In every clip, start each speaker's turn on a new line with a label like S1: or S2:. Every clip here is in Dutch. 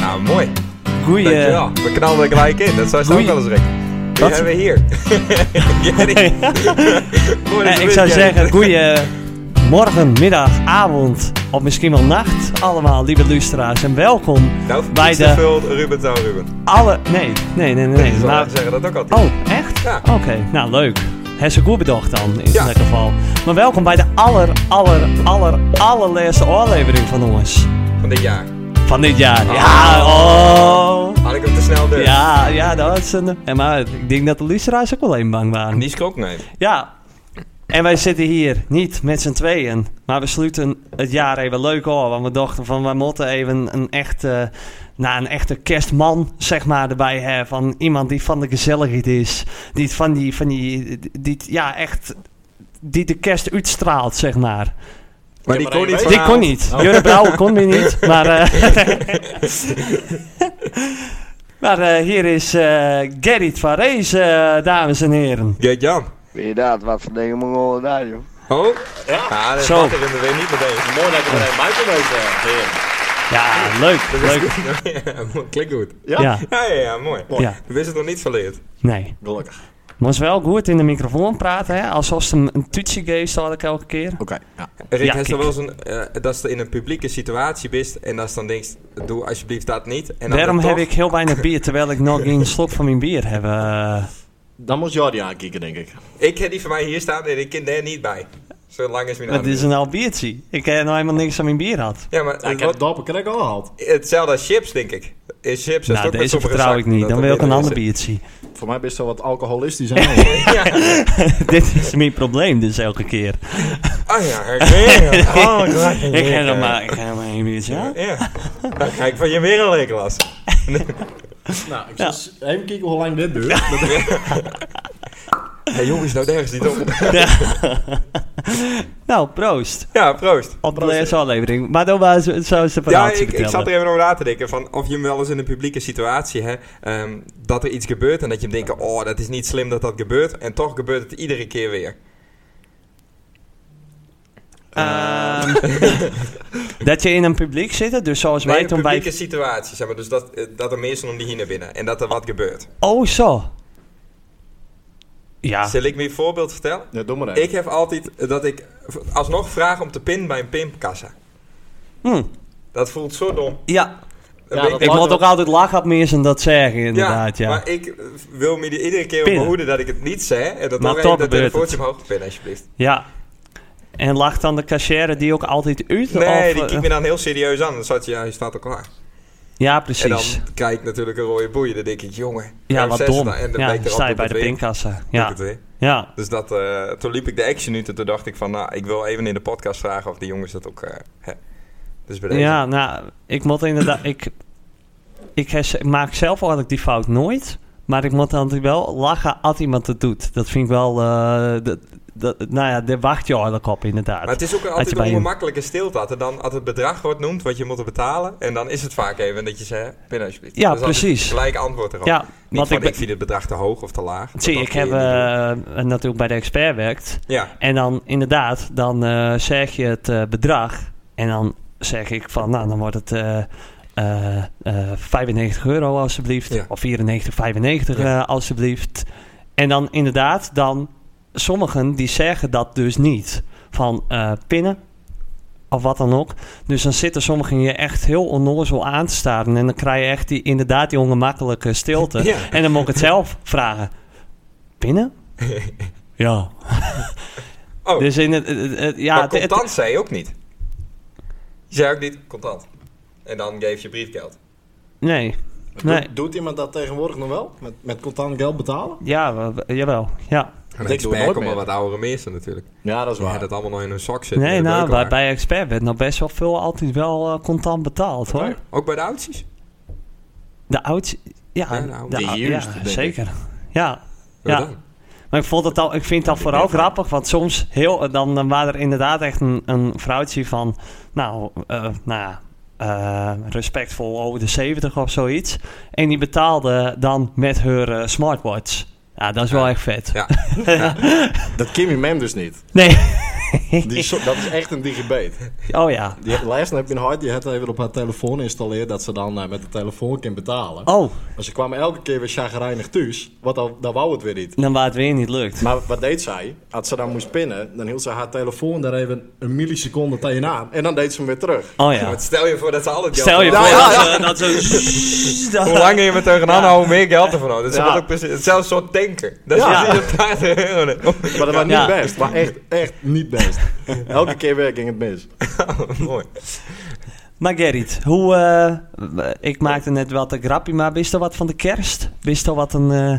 S1: Nou, mooi.
S2: Goeie.
S1: Dankjewel. We knallen er gelijk in. Dat zou je ook
S2: Goeie-
S1: wel eens Rick. Die
S2: Wat?
S1: hebben we hier. Jerry. Mooi dat
S2: Eh,
S1: je
S2: ik
S1: bent,
S2: zou
S1: Jerry.
S2: zeggen, goeie morgen, middag, avond of misschien wel nacht allemaal, lieve luisteraars. En welkom
S1: Nou,
S2: bij
S1: de...
S2: de
S1: veel Ruben zou Ruben.
S2: alle... Nee, nee, nee,
S1: Nee,
S2: nee. nee maar-
S1: maar... zeggen dat ook altijd.
S2: Oh, echt?
S1: Ja.
S2: Oké, nou leuk. Heb ze goed bedacht dan, in
S1: Ja.
S2: dat geval. Maar welkom bij de aller, aller, aller, allerlaatste oorlevering van ons.
S1: Van dit jaar.
S2: Van dit jaar.
S1: Ah.
S2: Ja, oh.
S1: Had ik hem te snel door.
S2: Ja, ja, dat is een... En maar ik denk dat de luisteraars ook wel even bang waren.
S1: Die schrok nee.
S2: Ja. En wij zitten hier niet met z'n tweeën. Maar we sluiten het jaar even leuk hoor. Want we dachten van wij moeten even een echte, nou, een echte kerstman zeg maar erbij hebben. Van iemand die van de gezelligheid is. Die het van die, van die, die het, ja echt, die de kerst uitstraalt zeg maar.
S1: Maar
S3: heb
S1: die
S3: er
S1: kon
S3: één
S1: niet
S3: bij.
S2: Die kon niet. Jurre Brouwer kon die niet. Maar, eh, maar eh, hier is eh Gerrit van Rees, eh, dames en heren.
S1: Geert Jan.
S4: Inderdaad, wat voor dingen mongolen daar, joh.
S1: Oh.
S3: Ja.
S1: Ah, dat
S2: Zo.
S1: zat er in de weer niet meteen.
S3: Mooi dat je er een Michael weet, eh, heer.
S2: Ja, leuk. Leuk.
S1: Ja, Klinkt goed.
S3: Ja?
S2: Ja,
S1: Ja, ja, ja, mooi.
S2: ja,
S1: We wisten het nog niet verleerd.
S2: nee.
S3: Gelukkig.
S2: Moest wel goed in de microfoon praten, hè? Alsof ze een, een toetje geeft, had ik elke keer.
S3: Oké. Ja.
S1: Rick,
S2: Ja,
S1: ja,
S2: kijk.
S1: wel eens een, eh, dat je in een publieke situatie bent en dat je dan denkt, doe alsjeblieft dat niet. En dan
S2: Daarom
S1: toch-
S2: heb ik heel weinig bier, terwijl ik nog geen slok van mijn bier heb. eh.
S3: Dan moet Jordi aankijken, denk ik.
S1: Ik heb die van mij hier staan en ik ken daar niet bij. Zo lang is mijn
S2: het
S1: naam.
S2: is een oud biertje. Ik heb nog helemaal niks aan mijn bier had.
S1: Ja, maar
S3: Ja, ik heb
S1: wat-
S3: het doppen kan ik al gehaald.
S1: hetzelfde als chips, denk ik. Is chips is
S2: Nou,
S1: ook met
S2: deze
S1: sommige
S2: vertrouw ik
S1: zakken dat
S2: niet.
S1: dus.
S2: Dan
S1: dat
S2: wil ik een
S1: minder
S2: ander
S1: is.
S2: biertje.
S3: Voor mij best wel wat alcoholistisch aan. hoor.
S1: Ja.
S2: Dit is mijn probleem dus elke keer.
S1: Oh ja, herkenen. Oh, dat-
S2: Ik ga nog maar, ik ga nog maar één biertje aan.
S1: Ja. Dan ga ik van je weer een lekker las.
S3: nou, ik zal eens even kijken hoe lang dit duurt. Dat-
S1: Hé hey, jongens, nou nergens niet op.
S2: Nou, proost.
S1: Ja, Oh, proost.
S2: Op de laatste aflevering. Maar dan was, zou ze
S1: Ja,
S2: verhaaltje
S1: ik, ik
S2: vertellen.
S1: zat er even over na te denken. Van of je hem wel eens in een publieke situatie hè, ehm, dat er iets gebeurt en dat je hem denkt: oh, dat is niet slim dat dat gebeurt. En toch gebeurt het iedere keer weer.
S2: Ehm, dat je in een publiek zit, dus zoals
S1: Nee,
S2: wij
S1: een
S2: toen bij...
S1: publieke situatie, zeg maar. Dus dat, eh, dat er mensen om die hier naar binnen en dat er wat gebeurt.
S2: Oh, zo. Ja.
S1: Zal ik me een voorbeeld vertellen?
S3: Ja, doe maar even.
S1: Ik heb altijd dat ik v- alsnog vraag om te pinnen bij een pimpkassa.
S2: Hm.
S1: Dat voelt zo dom.
S2: Ja,
S1: Dan
S3: Ja,
S1: ben
S3: dat
S2: ik
S3: Laat
S2: moet
S3: wel.
S2: ook altijd lachen op mensen dat zeggen, inderdaad, ja.
S1: maar ik eh, wil me die iedere keer op
S2: Pinnen.
S1: behoeden dat ik het niet zeg. En dat
S2: Maar
S1: nog
S2: toch
S1: even dat
S2: gebeurt
S1: telefoonje omhoog pinnen, alsjeblieft.
S2: Ja. En lacht dan de cashier die ook altijd uit?
S1: Nee,
S2: of,
S1: die
S2: eh,
S1: kijkt me dan heel serieus aan. Dan staat je, ja, je staat al klaar.
S2: Ja,
S1: En
S2: precies.
S1: dan krijg ik natuurlijk een rode boei. Dan denk ik, jongen.
S2: ja,
S1: ruim
S2: wat
S1: zes
S2: dom.
S1: staan. En dan
S2: Ja,
S1: bleek
S2: dan
S1: er
S2: sta je
S1: altijd
S2: bij de
S1: het weer.
S2: pinkassa.
S1: Bleek
S2: Ja,
S1: het weer.
S2: ja.
S1: Dus dat, eh, toen liep ik de action uit en toen dacht ik van, nou, ik wil even in de podcast vragen of die jongens dat ook... eh, hè. Dus bij deze.
S2: Ja, nou, ik moet inderdaad... Ik, ik hes- maak zelf eigenlijk die fout nooit. Maar ik moet altijd wel lachen als iemand het doet. Dat vind ik wel... eh, dat, dat, nou ja, daar wacht je eigenlijk op, inderdaad.
S1: Maar het is ook
S2: je
S1: altijd
S2: bij
S1: een
S2: hem-
S1: ongemakkelijke stilte. dat er dan, als het bedrag wordt noemd wat je moet betalen, en dan is het vaak even dat je zegt, binnen alsjeblieft.
S2: Ja,
S1: Dat is altijd
S2: precies.
S1: Gelijk antwoord erop.
S2: ja,
S1: Niet
S2: want
S1: van,
S2: ik,
S1: ik,
S2: ben-
S1: vind het bedrag te hoog of te laag. Want
S2: zie,
S1: dat
S2: ik
S1: kun
S2: heb
S1: je niet doen.
S2: eh, natuurlijk bij de expert werkt.
S1: Ja,
S2: En dan inderdaad, dan eh, zeg je het eh, bedrag. En dan zeg ik van, nou, dan wordt het eh, eh, eh, 95 euro alsjeblieft.
S1: Ja.
S2: Of 94,95 eh
S1: Ja.
S2: alsjeblieft. En dan inderdaad, dan sommigen die zeggen dat dus niet. Van eh, pinnen of wat dan ook. Dus dan zitten sommigen je echt heel onnozel aan te staren. En dan krijg je echt die, inderdaad die ongemakkelijke stilte.
S1: Ja.
S2: En dan moet ik het zelf vragen. Pinnen? ja.
S1: Oh.
S2: Dus in het, het- het- het- ja,
S1: maar
S2: het- het-
S1: contant zei je ook niet. Je zei ook niet contant. En dan geef je briefgeld.
S2: nee.
S3: Doet-
S2: Nee.
S3: Doet iemand dat tegenwoordig nog wel? Met, met contant geld betalen?
S2: Ja, we- we- jawel. Ja.
S1: En
S3: doe
S1: ik
S3: ik
S1: doe
S3: nooit
S1: ook maar
S3: meer.
S1: wat oudere mensen natuurlijk.
S3: Ja, dat is
S1: Die
S3: waar.
S1: hebben dat allemaal nog in hun zak zitten.
S2: Nee,
S1: in de
S2: nou, bij,
S1: beukenlaag.
S2: bij Expert werd nog best wel veel altijd wel eh, contant betaald, hoor.
S3: Oké.
S1: Ook bij de oudjes?
S2: De oudste... Ja,
S1: Ja, de oud-
S3: nou, de
S2: ou-
S3: eerste,
S2: ja
S3: denk ik.
S2: zeker. Ja.
S1: Wat
S2: Ja.
S1: dan?
S2: Maar ik, vond het al, ik vind dat vooral grappig, want soms heel, dan, dan waren er inderdaad echt een, een vrouwtje van, nou, eh, nou ja, eh, respectvol over de 70 of zoiets. En die betaalde dan met haar eh, smartwatch. Ja, dat is wel echt vet.
S1: Ja.
S3: Dat Kimmy Mem dus niet.
S2: Nee,
S3: Die so- dat is echt een digibate.
S2: Oh ja.
S3: Die lijst heb je een hard, die had even op haar telefoon installeerd dat ze dan eh, met de telefoon kan betalen.
S2: Oh,
S3: Maar ze kwam elke keer weer chagrijnig thuis, want dan, dan wou het weer niet.
S2: dan waar het weer niet lukt.
S3: Maar wat deed zij? Als ze dan moest pinnen, dan hield ze haar telefoon daar even een milliseconde tegenaan. En dan deed ze hem weer terug.
S2: Oh
S1: Ja,
S2: ja.
S1: want stel je voor dat ze al het geld
S2: Stel je
S1: ervan
S2: voor
S1: hadden.
S2: dat ze- dat ze... dat-
S1: Hoe langer je me tegenaan houdt, hoe meer geld ervan houdt. Het is
S3: Ja.
S1: wordt ook precies hetzelfde soort tanken. Dat is
S2: Ja.
S1: precies een paar euro.
S3: Maar dat was niet
S2: Ja.
S3: best. Maar echt, echt niet best. Elke keer weer ging het mis.
S1: Mooi.
S2: Maar Gerrit, hoe... eh, ik maakte net wat een grapje, maar wist je wat van de kerst? Wist je wat een... eh,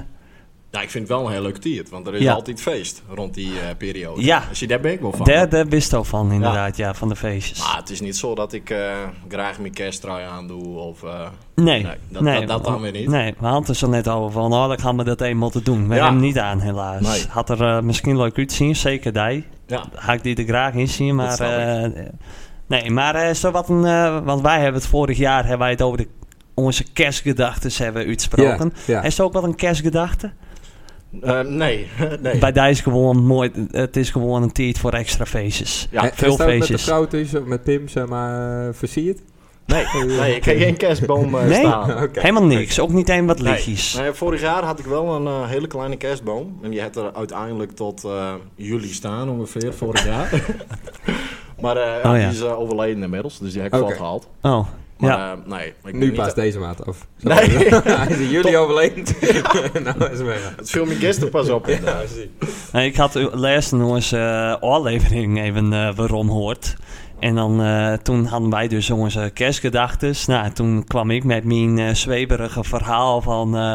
S3: Ja, ik vind het wel een heel leuk tiert, want er is
S2: Ja.
S3: altijd feest rond die eh, periode.
S2: Ja.
S3: Dus daar ben ik wel van. Ah,
S2: Daar, daar wist al van, inderdaad, ja. van de feestjes.
S3: Maar het is niet zo dat ik eh, graag mijn kersttrui aandoe of... eh,
S2: nee,
S3: nee,
S2: nee,
S3: dat- dat- dat dan weer niet.
S2: Nee, we hadden het er net over van, oh, dan gaan we dat één moeten doen. We
S3: Ja.
S2: hebben hem niet aan, helaas.
S3: Nee.
S2: Had er eh, misschien leuk uitzien, zeker die.
S3: ja.
S2: Ga ik die er graag in zien, maar...
S3: snap
S2: eh, nee, maar eh, zo wat een... eh, want wij hebben het vorig jaar, hebben wij het over de, onze kerstgedachten hebben uitsproken.
S1: ja.
S2: Is er ook wat een kerstgedachte?
S3: Eh, nee, nee.
S2: Bij die is gewoon mooi, het is gewoon een tijd voor extra feestjes.
S3: Ja,
S1: En- en
S2: veel
S1: staat het met de
S2: feestjes.
S1: vrouw tussen, met Pim, zeg maar, eh, versierd?
S3: Nee, nee, ik heb geen kerstboom eh,
S2: Nee?
S3: staan.
S1: Oké.
S2: Helemaal niks, ook niet één wat
S3: Nee.
S2: lichtjes.
S3: Nee, vorig jaar had ik wel een eh, hele kleine kerstboom. En die had er uiteindelijk tot eh, juli staan ongeveer, vorig jaar. maar eh,
S2: Oh, ja.
S3: die is eh, overleden inmiddels, dus die heb ik
S1: Oké.
S3: valt gehaald.
S2: Oh,
S3: Maar
S2: ja.
S3: eh, nee, ik ben
S1: Nu
S3: niet-
S1: pas deze maand af.
S3: Nee.
S1: Hij is in juli overleden. nou is het weer.
S3: Het viel me gisteren pas op.
S1: Ja,
S3: inderdaad.
S1: precies.
S2: Nou, ik had laatst nog eens eh aflevering even eh waarom hoort. En dan, eh, toen hadden wij dus onze kerstgedachten. Nou, toen kwam ik met mijn eh, zweberige verhaal van... eh,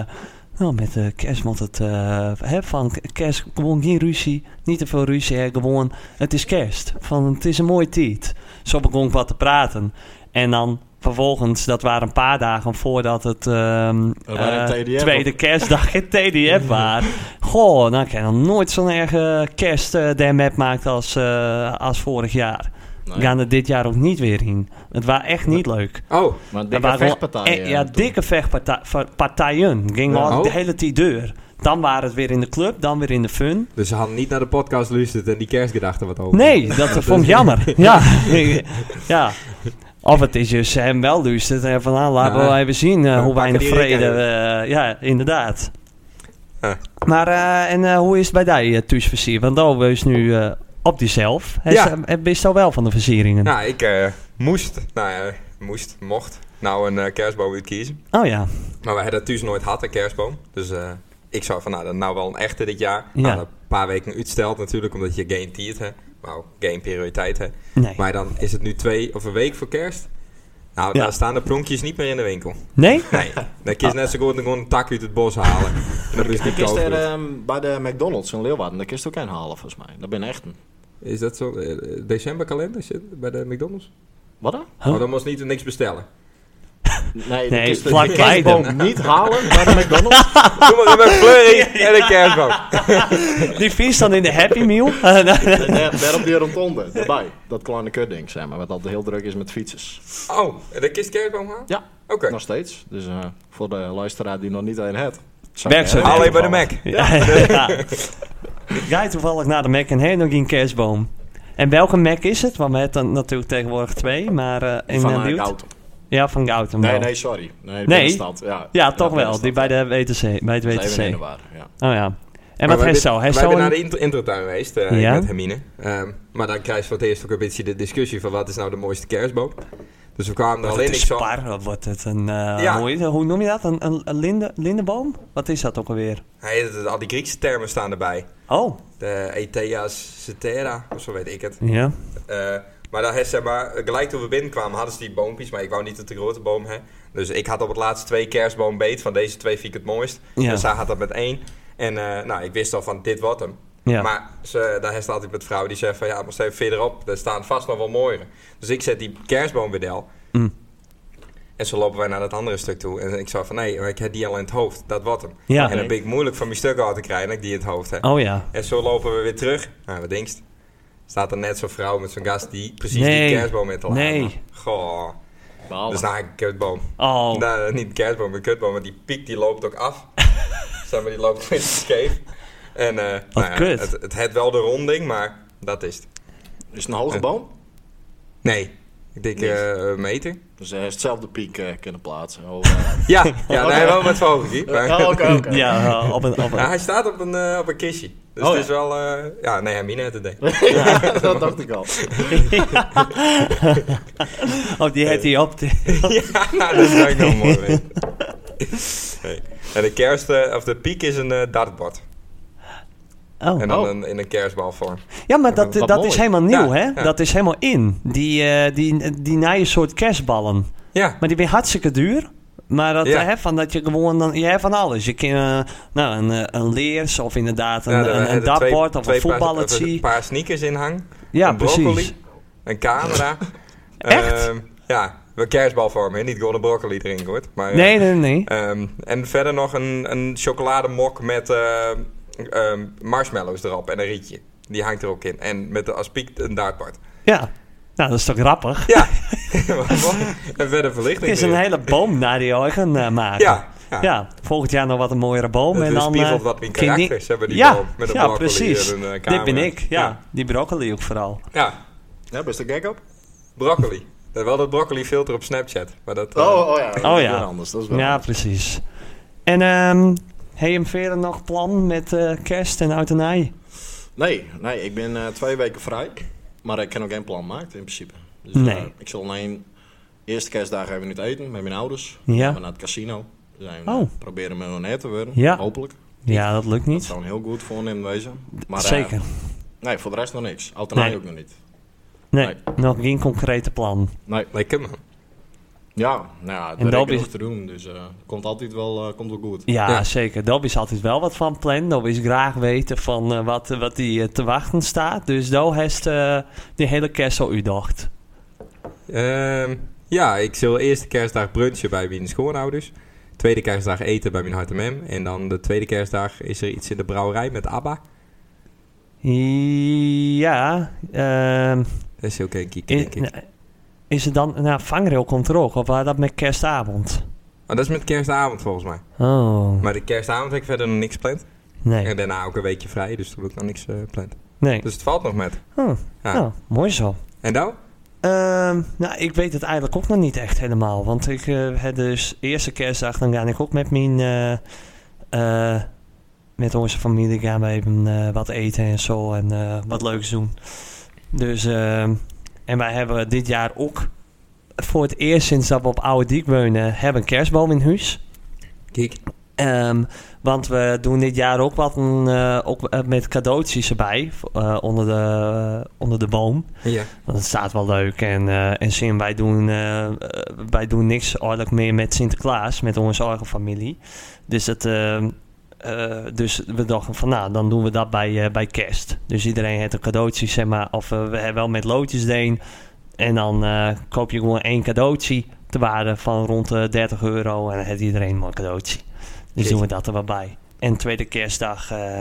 S2: nou, met de kerst moet het... eh, hè, van k- kerst, gewoon geen ruzie. Niet te veel ruzie, hè, gewoon... Het is kerst. Van, het is een mooie tijd. Zo begon ik wat te praten. En dan vervolgens, dat waren een paar dagen voordat het... ehm,
S3: Dat waren
S2: eh,
S3: TDF.
S2: tweede kerstdag in TDF waren. Goh, nou ik heb nog nooit zo'n erge kerst eh der map gemaakt als, eh, als vorig jaar.
S3: Nee.
S2: We gaan er dit jaar ook niet weer in. Het was echt niet leuk.
S1: Oh,
S3: Maar
S2: Er
S3: dikke
S2: waren gewoon
S3: vechtpartijen.
S2: e- ja,
S3: toen.
S2: dikke vechtpartijen. Ging
S3: Ja.
S2: al de
S1: Oh.
S2: hele tijd deur. Dan waren het weer in de club, dan weer in de fun.
S1: dus ze hadden niet naar de podcast luisterd en die kerstgedachten wat over.
S2: Nee, dat vond
S1: dus-
S2: ik jammer. Ja. ja. Of het is dus hem wel luisterd en van nou, laten we
S1: Ja.
S2: wel even zien eh,
S1: We pakken
S2: hoe weinig
S1: die Rick
S2: vrede
S1: even.
S2: we... ja, inderdaad.
S1: Eh.
S2: Maar eh, en eh, hoe is het bij die uh, thuisversier? Want dan wees nu eh, op diezelf. Hij
S1: Ja.
S2: is, eh, wist al wel van de versieringen.
S1: Nou, ik eh, moest, nou ja, moest, mocht, nou een eh, kerstboom uitkiezen.
S2: Oh ja.
S1: Maar we hadden thuis nooit had een kerstboom. Dus eh, ik zou van, nou, dan nou wel een echte dit jaar.
S2: Ja.
S1: Nou, een paar weken uitstelt natuurlijk, omdat je geen tiert hè. Nou, geen prioriteit hè.
S2: Nee.
S1: Maar dan is het nu twee of een week voor kerst. Nou,
S2: Ja.
S1: daar staan de pronkjes niet meer in de winkel.
S2: Nee?
S1: Nee, dan kun je net zo goed gewoon een tak uit het bos halen. En dat is
S3: Ik
S1: niet
S3: kist er
S1: kopen.
S3: ehm, bij de McDonald's in Leeuwarden, daar kist ook een halen volgens mij. Dat ben echt een.
S1: Is dat zo? eh, Decemberkalender zit bij de McDonald's?
S3: Wat dan?
S2: Huh?
S1: Oh, dan moest niet niks bestellen.
S3: Nee,
S2: Nee,
S3: de kist-
S2: vlak
S3: de
S2: bij
S3: kerstboom niet halen bij de McDonald's.
S1: Doe maar met fleurie en een kerstboom.
S2: Die vies dan in de Happy Meal?
S3: En daar, daar op die rondonde, daarbij. Dat kleine kutding, zeg maar, wat altijd heel druk is met fietsers.
S1: Oh, de kist kerstboom aan?
S3: Ja,
S1: Oké.
S3: nog steeds. Dus eh, voor de luisteraar die nog niet een het.
S2: Werk zo
S1: Alleen bij de Mac.
S2: Ja. ja. Ga je toevallig naar de Mac en heen nog geen kerstboom? En welke Mac is het? Want we hebben dan natuurlijk tegenwoordig twee, maar eh in
S3: Van
S2: eh,
S3: een
S2: Duwt?
S3: auto.
S2: Ja, van Gouten.
S3: Nee,
S2: wel.
S3: nee, sorry. Nee, de
S2: Nee?
S3: binnenstad, Ja,
S2: Ja, toch wel. Die
S3: binnenstad.
S2: bij de WTC. Bij het
S3: Dat is
S2: WTC.
S3: even in de
S2: Oh
S3: war, ja.
S2: ja. En
S1: Maar
S2: wat
S1: wij
S2: heeft
S1: ben-
S2: zo?
S1: Wij
S2: Heeft zo
S1: zijn naar
S2: een-
S1: de inter- introtuin geweest eh,
S2: Ja?
S1: met Hermine. Ehm, maar dan krijg je voor het eerst ook een beetje de discussie van wat is nou de mooiste kerstboom. Dus we kwamen er
S2: Wordt
S1: al in.
S2: het
S1: Ik
S2: een
S1: zo-
S2: spar? Wat Wordt het een... eh,
S1: Ja.
S2: hoe, hoe noem je dat? Een, een, een linde, lindeboom? Wat is dat ook alweer?
S1: Hey, dat- al die Griekse termen staan erbij.
S2: Oh,
S1: De Eteas Cetera, of zo weet ik het.
S2: ja.
S1: Eh, maar daar heeft, zeg maar, gelijk toen we binnenkwamen hadden ze die boompjes, maar ik wou niet dat de grote boom hè. Dus ik had op het laatst twee kerstboom beet, van deze twee vind ik het mooist.
S2: Ja.
S1: En zij had dat met één. En eh, nou, ik wist al van dit wordt hem.
S2: Ja.
S1: Maar ze, daar heeft altijd met vrouwen die zeggen van ja, maar even verderop, daar staan vast nog wel mooiere. Dus ik zet die kerstboom weer del.
S2: Mm.
S1: En zo lopen wij naar dat andere stuk toe. En ik zei van nee, maar ik heb die al in het hoofd, dat wordt hem.
S2: Ja.
S1: En dan ben ik moeilijk van mijn stuk af te krijgen, dat ik die in het hoofd heb.
S2: Oh ja.
S1: En zo lopen we weer terug. Nou, wat denkst? Staat er net zo'n vrouw met zo'n gast die precies
S2: Nee.
S1: die kerstboom in te laten.
S2: Nee.
S1: Goh.
S3: Behalve.
S1: Dus nou, een kutboom.
S2: Oh.
S1: Nou, niet een kerstboom, een kutboom. Maar die piek die loopt ook af. zeg maar, die loopt een beetje scheef. En eh, nou ja,
S2: kut.
S1: Het, het had wel de ronding, maar dat is het.
S3: Is het een hoge boom?
S1: Nee, ik denk
S3: Niet.
S1: eh, een meter.
S3: Dus hij heeft hetzelfde piek eh, kunnen plaatsen. Oh, eh,
S1: Ja, ja nee,
S3: Oké.
S1: wel wat hoger.
S3: eh, oh, oké, oké.
S2: Ja, eh, op een... Op een
S1: Ja, hij staat op een, eh, op een kistje. Dus
S3: Oh,
S1: het
S3: ja.
S1: is wel... eh, ja, nee, Hermine had het denk ik.
S3: Ja, dat dacht ik al.
S2: oh, die had hij op. de-
S1: ja, dat is ook nog mooi. weet je. Nee. En de kerst... eh, of de piek is een eh, dartbord.
S2: Oh.
S1: En dan
S3: Oh.
S1: een, in een kerstbalvorm.
S2: Ja, maar dat,
S3: Wat
S2: dat
S3: mooi.
S2: is helemaal
S1: Ja,
S2: nieuw, hè?
S1: ja.
S2: Dat is helemaal in. Die, eh, die, die nieuwe soort kerstballen.
S1: Ja,
S2: Maar die ben hartstikke duur. Maar dat,
S1: Ja.
S2: hè, van dat je gewoon... Dan, je hebt van alles. Je kan eh, nou, een, eh, een leers of inderdaad een,
S1: ja,
S2: een, een dartboard of een voetballetje.
S1: Een paar sneakers in hang.
S2: Ja,
S1: een broccoli, Oh,
S2: precies.
S1: Een camera.
S2: Echt?
S1: Ehm, ja, een kerstbalvorm. Hè? Niet gewoon een broccoli erin hoort. Maar, eh,
S2: Nee, nee, nee.
S1: Ehm, en verder nog een, een chocolademok met eh, ehm, marshmallows erop en een rietje. Die hangt er ook in. En met de aspiek een dartbord.
S2: Ja. Nou, dat is toch grappig?
S1: Ja, Wat mooi. en verder verlichting.
S2: Het is een
S1: weer.
S2: hele boom naar die eigen eh, maken.
S1: Ja, ja.
S2: Ja, volgend jaar nog wat een mooiere boom.
S1: Het
S2: en dan,
S1: weerspiegelt
S2: eh,
S1: wat mijn
S2: ging die-
S1: karakters hebben, die
S2: ja,
S1: boom, met een
S2: ja,
S1: broccoli
S2: precies.
S1: en een, eh,
S2: Dit ben
S1: camera.
S2: ik, ja.
S1: Ja.
S2: Die broccoli ook vooral.
S1: Ja,
S3: Ja, best een gek op.
S1: broccoli. Dat wel dat broccoli filter op Snapchat. Maar dat, eh,
S3: Oh, oh ja. Dat
S2: Oh
S3: is
S2: ja.
S3: weer anders. Dat is wel
S2: Ja, precies. En ehm heb je hem verder nog plan met eh, kerst en oud en nij?
S3: Nee, nee, ik ben eh, twee weken vrij. Maar ik kan ook geen plan maken in principe. Dus,
S2: Nee.
S3: eh, ik zal alleen... Eerste kerstdag even niet eten met mijn ouders.
S2: Ja.
S3: Gaan we naar het casino. We Zijn,
S2: Oh.
S3: eh, proberen miljonair te worden.
S2: Ja.
S3: Hopelijk.
S2: Ja, dat lukt
S3: Dat
S2: niet.
S3: zou een heel goed voornemen wezen. Maar, eh,
S2: Zeker.
S3: nee, voor de rest nog niks. Alternatief
S2: Nee.
S3: ook nog niet.
S2: nee,
S3: nee.
S2: nog geen concrete plan.
S3: Nee.
S1: Lekker man.
S3: Ja, nou ja,
S2: En
S3: er
S2: dat
S3: is
S2: is-
S3: nog te doen. Dus eh, komt altijd wel, eh, komt wel goed.
S2: Ja,
S1: Ja.
S2: zeker. Dobby is altijd wel wat van plan. Dobby is graag weten van eh, wat, wat die eh, te wachten staat. Dus Do heeft eh, die hele kerst al u dacht.
S1: Ehm, ja, ik zal eerste kerstdag brunchen bij mijn schoonouders. Tweede kerstdag eten bij mijn hart en mem. En dan de tweede kerstdag is er iets in de brouwerij met ABBA.
S2: Ja, ehm,
S1: Dat is heel kinky,
S2: i-
S1: denk ik.
S2: eh, is het dan... Nou, vangrail komt er ook. Of waar dat met kerstavond?
S1: Maar dat is met kerstavond volgens mij.
S2: Oh,
S1: Maar de kerstavond heb ik verder nog niks gepland.
S2: nee.
S1: En daarna ook een weekje vrij, dus toen heb ik nog niks eh gepland.
S2: Nee.
S1: Dus het valt nog met.
S2: Oh,
S1: Ja.
S2: nou, mooi zo.
S1: En nou?
S2: Ehm, nou, ik weet het eigenlijk ook nog niet echt helemaal. Want ik eh heb dus eerste kerstdag, dan ga ik ook met mijn... eh, eh, met onze familie gaan we even eh, wat eten en zo. En eh, wat leuks doen. Dus, ehm, en wij hebben dit jaar ook... Voor het eerst sinds dat we op Oude Diek wonen, hebben een kerstboom in huis.
S1: Kijk.
S2: Ehm, want we doen dit jaar ook wat een, eh, ook, eh, met cadeautjes erbij. eh, onder, de, eh, onder de boom.
S1: Ja.
S2: Want het staat wel leuk. En, eh en Sim, wij doen, eh, eh, wij doen niks eigenlijk meer met Sinterklaas, met onze eigen familie. Dus, dat, eh, eh, dus we dachten van nou, dan doen we dat bij, eh, bij kerst. Dus iedereen heeft een cadeautje, zeg maar. Of eh, we hebben wel met loodjes deen. En dan eh, koop je gewoon één cadeautje te waarde van rond de 30 euro. En dan heeft iedereen een mooi cadeautje. Dus
S1: Jeetje.
S2: doen we dat er wel bij. En tweede kerstdag... eh,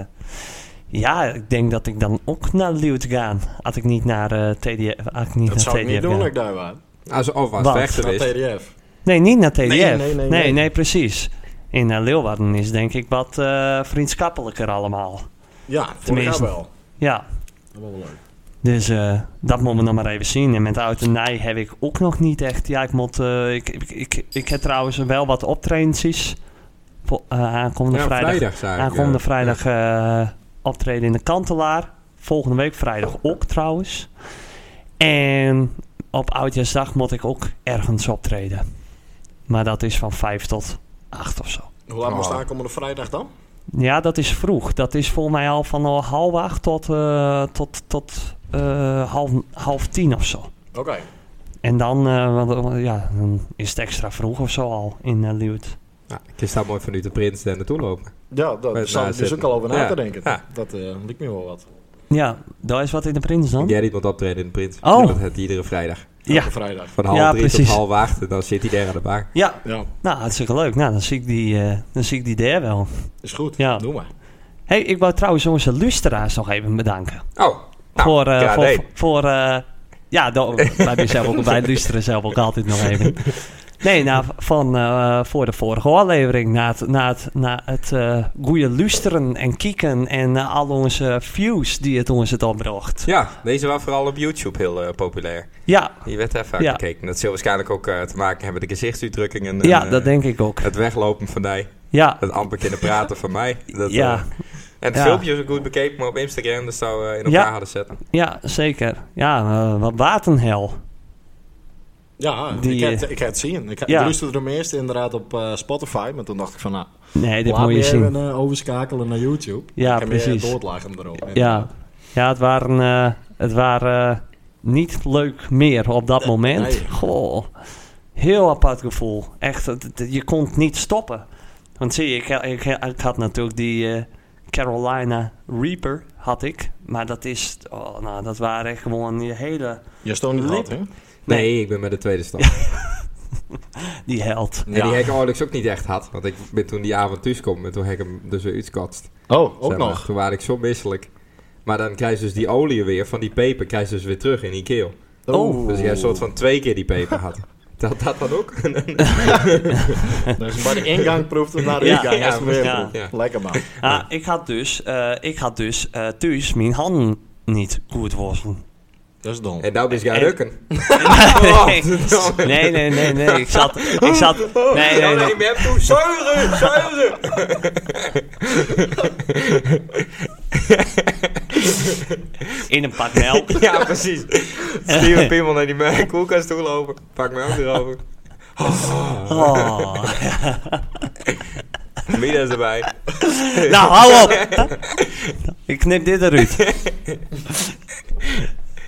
S2: ja, ik denk dat ik dan ook naar Leeuwarden gaan. Had ik niet naar eh, TDF. Had ik niet
S3: Dat
S2: naar
S3: zou ik
S2: TDF
S3: niet doen,
S2: gaan.
S3: ik daar waar.
S1: Als, of als
S2: Wat?
S1: het rechter
S3: Naar
S1: is.
S3: TDF.
S2: Nee, niet naar TDF. Nee,
S3: nee,
S2: nee,
S3: nee, nee.
S2: precies. In eh, Leeuwarden is denk ik wat eh, vriendschappelijker allemaal.
S3: Ja, voor
S2: Tenminste.
S3: jou wel.
S2: Ja,
S3: Dat was wel leuk.
S2: dus eh, dat moeten we nog maar even zien. En met oud en Nij heb ik ook nog niet echt. Ja, ik moet. eh, ik, ik, ik, ik heb trouwens wel wat optredens. Voor, eh, aankomende
S1: Ja, op
S2: vrijdag.
S1: vrijdag zou ik,
S2: Aankomende
S1: eh,
S2: vrijdag eh, optreden in de Kantelaar. Volgende week vrijdag ook trouwens. En op Oudjaarsdag moet ik ook ergens optreden. Maar dat is van 5 tot 8 of zo.
S3: Hoe laat
S1: Oh.
S3: moest het aankomende vrijdag dan?
S2: Ja, dat is vroeg. Dat is volgens mij al van eh, half acht tot, eh, tot, tot eh, half, half tien of zo.
S3: Oké.
S2: En dan, eh, want, eh, ja, dan is het extra vroeg of zo al in eh Leeuwarden.
S1: Ja, ik sta mooi vanuit de prins daar naartoe lopen.
S3: Ja, daar
S1: Met
S3: zat ik dus
S1: nazitten.
S3: ook al over na
S1: Ja.
S3: te denken.
S1: Ja.
S3: Dat eh liep me wel wat.
S2: Ja, daar is wat in de prins dan.
S1: Gerrit moet optreden in de prins.
S2: Oh.
S1: Dat heeft iedere vrijdag.
S2: Ja.
S3: Elke vrijdag.
S1: Van half
S2: Ja,
S1: drie
S2: precies.
S1: tot half acht. En dan zit hij daar aan de bar.
S2: Ja,
S3: Ja,
S2: nou hartstikke leuk. Nou, dan zie ik die, eh, dan zie ik die daar wel.
S3: is goed.
S2: Ja.
S3: Doe maar.
S2: Hey, ik wou trouwens onze luisteraars nog even bedanken.
S1: Oh. Nou,
S2: voor, eh,
S1: ja,
S2: voor,
S1: nee.
S2: voor, eh, ja, do- wij zijn zelf ook bij luisteren zelf ook altijd nog even. Nee, nou, van eh, voor de vorige aflevering. Na het, na het, na het eh, goede luisteren en kieken en eh, al onze views die het ons het opbracht. Ja,
S1: Ja, deze was vooral op YouTube heel eh, populair.
S2: ja,
S1: Die werd even vaak
S2: Ja.
S1: gekeken. Dat zal waarschijnlijk ook eh, te maken hebben met de gezichtsuitdrukkingen. en, eh,
S2: dat denk ik ook.
S1: Het weglopen van mij.
S2: Ja,
S1: Het amper kunnen praten van mij. Dat,
S2: Ja.
S1: eh, en het
S2: Ja.
S1: filmpje is ook goed bekeken, maar op Instagram dus zou eh in
S2: Ja.
S1: elkaar hadden zetten.
S2: ja zeker. Ja, eh, wat watenhel.
S3: Ja, ik,
S2: Die,
S3: heb,
S2: eh,
S3: ik heb het zien. Ik,
S2: ja.
S3: ja. luisterde hem eerst inderdaad op eh, Spotify, maar toen dacht ik van nou,
S2: Nee, dit
S3: laat
S2: moet je
S3: me
S2: zien.
S3: even eh, overschakelen naar YouTube.
S2: Ja,
S3: ik heb meer
S2: precies.
S3: doorlagen erop.
S2: Ja, ja het waren, eh, het waren eh, niet leuk meer op dat moment.
S3: nee.
S2: Goh, heel apart gevoel. Echt, het- het- je kon het niet stoppen. Want zie je, ik, ik, ik had natuurlijk die eh, Carolina Reaper, had ik. Maar dat is, oh, nou, dat waren echt gewoon die hele,
S3: Je stond niet
S2: Lip.
S3: wat, hè?
S1: Nee,
S2: Nee.
S1: ik ben bij de tweede stap.
S2: die held.
S1: En die heb ik Alex ook niet echt had. Want ik ben toen die avond thuiskom en toen heb ik hem dus weer uitskotst.
S3: Oh, ook
S1: Zeg maar,
S3: nog.
S1: Toen was ik zo misselijk. Maar dan krijg je dus die olie weer van die peper, krijg je dus weer terug in die keel.
S2: Oh.
S1: Dus jij een soort van twee keer die peper had. Dat dat dan ook?
S3: Dus bij de ingang proeft het naar de
S2: Ja,
S3: ingang.
S1: ja,
S3: is het weer
S2: ja.
S3: proeft. Lekker man.
S2: Ah, ik had dus, eh, ik had dus eh, thuis mijn handen niet goed wassen.
S3: Dat is dom.
S1: en nou ben je gaan
S2: En-
S1: rukken.
S2: nee, nee, nee, nee, nee, Ik zat, ik zat,
S3: Oh.
S2: nee, nee, nee.
S1: Ik ben toen zuigen, zuigen.
S2: In een pak melk.
S1: Ja, precies. Steven Pimmel naar die me- koelkast toe lopen. Pak me ook erover.
S2: Oh.
S1: Mida is erbij.
S2: Nou, hou op. Ik knip dit eruit.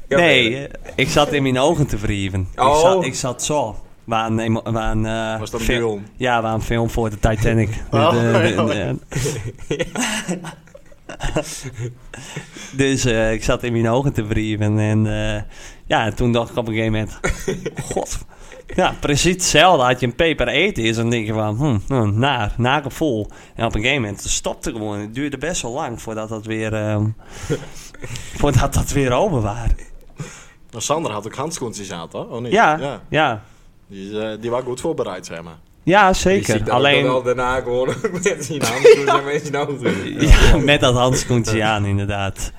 S1: Ja,
S2: Nee, eh, ik zat in mijn ogen te wrieven. Ik,
S1: Oh.
S2: zat, ik zat zo. Waar een, emo- waar een, eh,
S3: Was dat
S2: fil-
S3: film?
S2: Ja, waar een film voor de Titanic. eh,
S3: Oh,
S2: De- de- de-
S3: ja.
S2: de- eh, dus eh, ik zat in mijn ogen te wrieven. En eh, ja, toen dacht ik op een gegeven moment... God, ja, precies hetzelfde. Had je een peper eten is, dan denk je van, hm, hm, naar, naar gevoel. En op een gegeven moment stopte gewoon. Het duurde best wel lang voordat dat weer, ehm, voordat dat weer over was.
S3: Nou, Sander had ook handschoentjes aan, toch? Oh, niet?
S2: Ja, ja, ja,
S3: Die, is, eh, die was goed voorbereid, zeg maar.
S1: Die ziet
S2: zeker.
S1: dan ook wel
S2: Alleen
S1: daarna gewoon mensen zien handen doen en mensen nou
S2: ja, met dat handschoentje aan, inderdaad.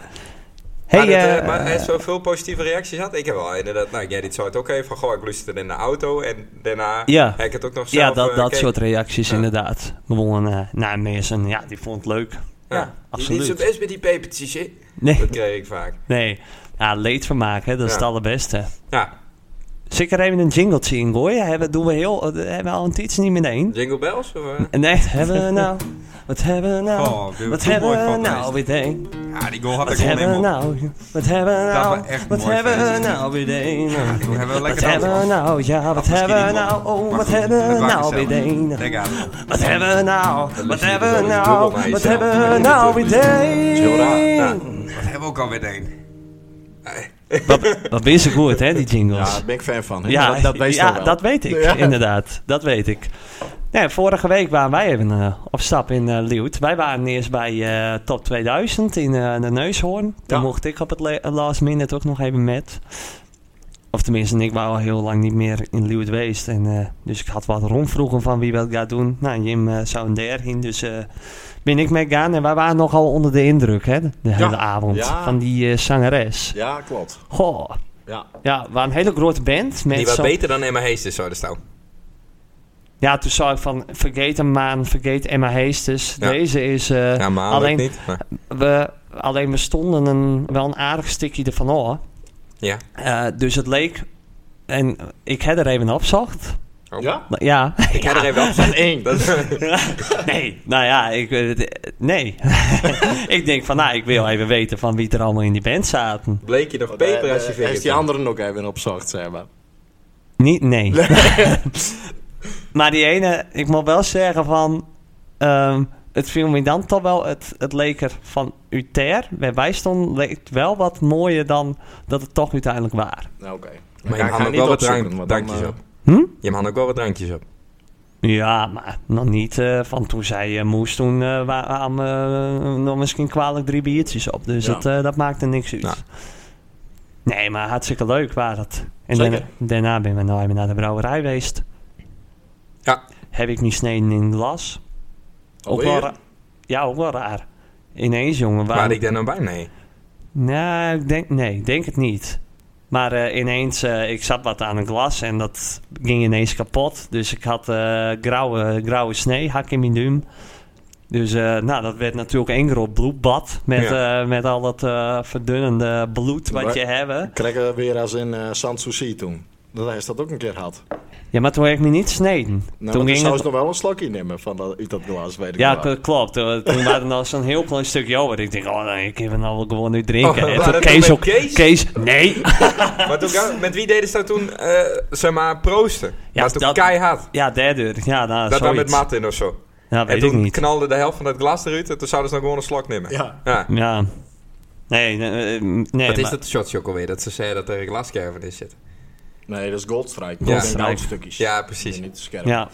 S2: Hey,
S1: maar, dit, eh,
S2: eh,
S1: maar hij heeft zoveel positieve reacties had. Ik heb wel inderdaad, nou, jij dit zou het ook even van, goh, ik luisterde in de auto en daarna
S2: Ja.
S1: heb ik het ook nog zelf
S2: ja, dat,
S1: eh,
S2: dat
S1: gekeken.
S2: soort reacties,
S1: Ja.
S2: inderdaad. Gewoon, eh nou, mensen, ja, die vond het leuk.
S1: Ja.
S2: Ja,
S1: Je doet zo
S2: absoluut.
S1: best met die pepertjes, hè?
S2: Nee,
S1: Dat kreeg ik vaak.
S2: nee. Ja, leedvermaak, hè, dat is
S1: Ja.
S2: het allerbeste.
S1: Ja,
S2: Zeker even een jingletje ingooien. Hebben, doen we heel, eh, hebben we al een tietje niet meteen.
S1: Jingle Bells? Of, eh?
S2: Nee, hebben we nou? Wat hebben we nou?
S1: Oh, dit
S2: wat
S1: is
S2: hebben we
S1: mooi van
S2: nou
S1: geweest.
S2: weer deen?
S1: Ja, die goal had
S2: Wat
S1: ik gewoon
S2: hebben we
S1: helemaal.
S2: nou? Wat hebben we
S1: Dat
S2: nou?
S1: was echt
S2: Wat
S1: mooi
S2: hebben we
S1: feest.
S2: nou weer deen?
S1: Toen hebben we
S2: Wat
S1: lekker
S2: hebben we nou? Ja, wat
S1: Had misschien
S2: hebben we
S1: niet
S2: nou?
S1: mogen.
S2: Oh,
S1: Maar
S2: wat
S1: goed,
S2: hebben
S1: het
S2: we
S1: was
S2: nou weer
S1: gezellig.
S2: deen?
S1: Denk aan.
S2: Wat hebben we nou? Wat
S1: ligt hier
S2: hebben we
S1: dus al
S2: nou?
S1: dubbel bij jezelf.
S2: Wat hebben we nou weer
S3: is heel raar, ja.
S2: deen?
S1: Wat hebben we ook alweer deen? Nou,
S2: Wat ben je goed, hè, die
S3: Ja,
S2: jingles?
S3: daar ben ik fan van. hè.
S2: Ja,
S3: dat, dat wees
S2: ja,
S3: toch wel.
S2: dat weet ik,
S3: Ja.
S2: inderdaad. Dat weet ik. Nee, vorige week waren wij even eh, op stap in eh Leeuwarden. Wij waren eerst bij eh, Top 2000 in eh, de Neushoorn. Toen
S3: Ja.
S2: mocht ik op het le- last minute ook nog even met. Of tenminste, ik wou al heel lang niet meer in Leeuwarden geweest. En, eh, dus ik had wat rondvroegen van wie wil ik dat doen. Nou, Jim eh, zou een der in, dus eh, ben ik mee gaan. En wij waren nogal onder de indruk, hè, de hele avond.
S3: Ja.
S2: Van die eh, zangeres.
S3: Ja, klopt.
S2: Goh,
S3: Ja.
S2: ja, we waren een hele grote band. Met
S1: Die was
S2: zo'n-
S1: beter dan Emma Heesters, zou de staan.
S2: Ja, toen zag ik van, vergeet hem maan, vergeet Emma Heesters.
S1: Ja.
S2: Deze is, eh,
S1: Ja, maar
S2: alleen-
S1: alleen niet. maar-
S2: we, alleen we stonden een, wel een aardig stukje ervan hoor.
S1: Ja.
S2: Eh, dus het leek, en ik heb er even opzocht.
S1: Oh.
S3: Ja?
S2: Ja,
S1: Ik ga er even op.
S3: En één.
S1: Dat,
S2: nee, nou ja, ik, weet het- nee. ik denk van, nou, ik wil even weten van wie er allemaal in die band zaten.
S1: bleek je nog peper als je
S3: Hij
S1: vingers
S3: Eh, Heeft die
S1: had.
S3: anderen ook even opzocht, zeg maar.
S2: Niet, nee. maar die ene, ik moet wel zeggen van... ehm, het viel me dan toch wel... Het, het leek er van Uther, waar wij stonden... leek het wel wat mooier dan dat het toch uiteindelijk waar.
S3: Nou, oké.
S1: Maar
S3: Ik
S1: je
S3: ga-
S1: had
S3: ga
S1: ook
S3: niet
S1: wel wat
S3: opzoeken,
S1: drank-
S3: want dan,
S1: drankjes
S3: eh,
S1: op.
S2: Hm?
S1: Je had ook wel wat drankjes op.
S2: Ja, maar nog niet eh, van toen zij eh, moest. Toen eh waren nog misschien kwalijk drie biertjes op. Dus
S3: Ja.
S2: dat, eh, dat maakte niks uit.
S1: Nou.
S2: Nee, maar hartstikke leuk was dat. En
S3: Zeker.
S2: daarna, daarna ben we nou even naar de brouwerij geweest.
S1: Ja.
S2: Heb ik nu sneden in glas. Ook wel
S3: Alweer?
S2: ra- ja, ook wel raar. Ineens, jongen.
S1: Waar
S2: waarom-
S1: ik daar nou bij? Nee.
S2: Nou, ik denk, nee, ik denk het niet. Maar eh, ineens, eh, ik zat wat aan een glas en dat ging ineens kapot. Dus ik had eh, grauwe, grauwe snee, hak in mijn duim. Dus eh, nou, dat werd natuurlijk een groot bloedbad. Met, eh, met al dat eh, verdunnende bloed wat
S3: Maar-
S2: je hebt.
S3: Krijgen we weer als in eh San Souci toen. Dat is dat ook een keer gehad.
S2: Ja, maar toen heb ik me niet sneden.
S3: Nou,
S2: toen
S3: toen
S2: ging
S3: zou
S2: het...
S3: ze nog wel een slokje nemen van dat, uit dat glas, weet ik
S2: Ja,
S3: wel.
S2: k- klopt. Toen, toen waren er nog zo'n heel klein stuk yoghurt. Ik denk, oh nee, ik heb het nou wel gewoon nu drinken.
S1: Oh,
S2: en
S1: waren
S2: toen
S1: het
S2: Kees
S1: met
S2: ook,
S1: Kees?
S2: Kees, nee.
S1: Maar toen, met wie deden ze dat toen, eh, zeg maar, proosten?
S2: Ja,
S1: Ja, was toen
S2: dat-
S1: keihard.
S2: Ja, derde. Ja, nou,
S1: Dat dan met
S2: zoiets.
S1: Martin of zo.
S2: Ja, weet
S1: en
S2: ik
S1: toen
S2: niet.
S1: knalde de helft van het glas eruit en toen zouden ze dan gewoon een slok nemen.
S3: Ja.
S2: Ja. Nee, nee, eh, nee
S1: Wat is
S2: maar-
S1: dat shotje ook alweer? Dat ze zeiden dat er een glasscherven in zit.
S3: Nee, dat is Goldstrike.
S1: Ja.
S3: Dat zijn goud stukjes.
S1: Ja, precies.
S3: Die Niet te scherp. Ja.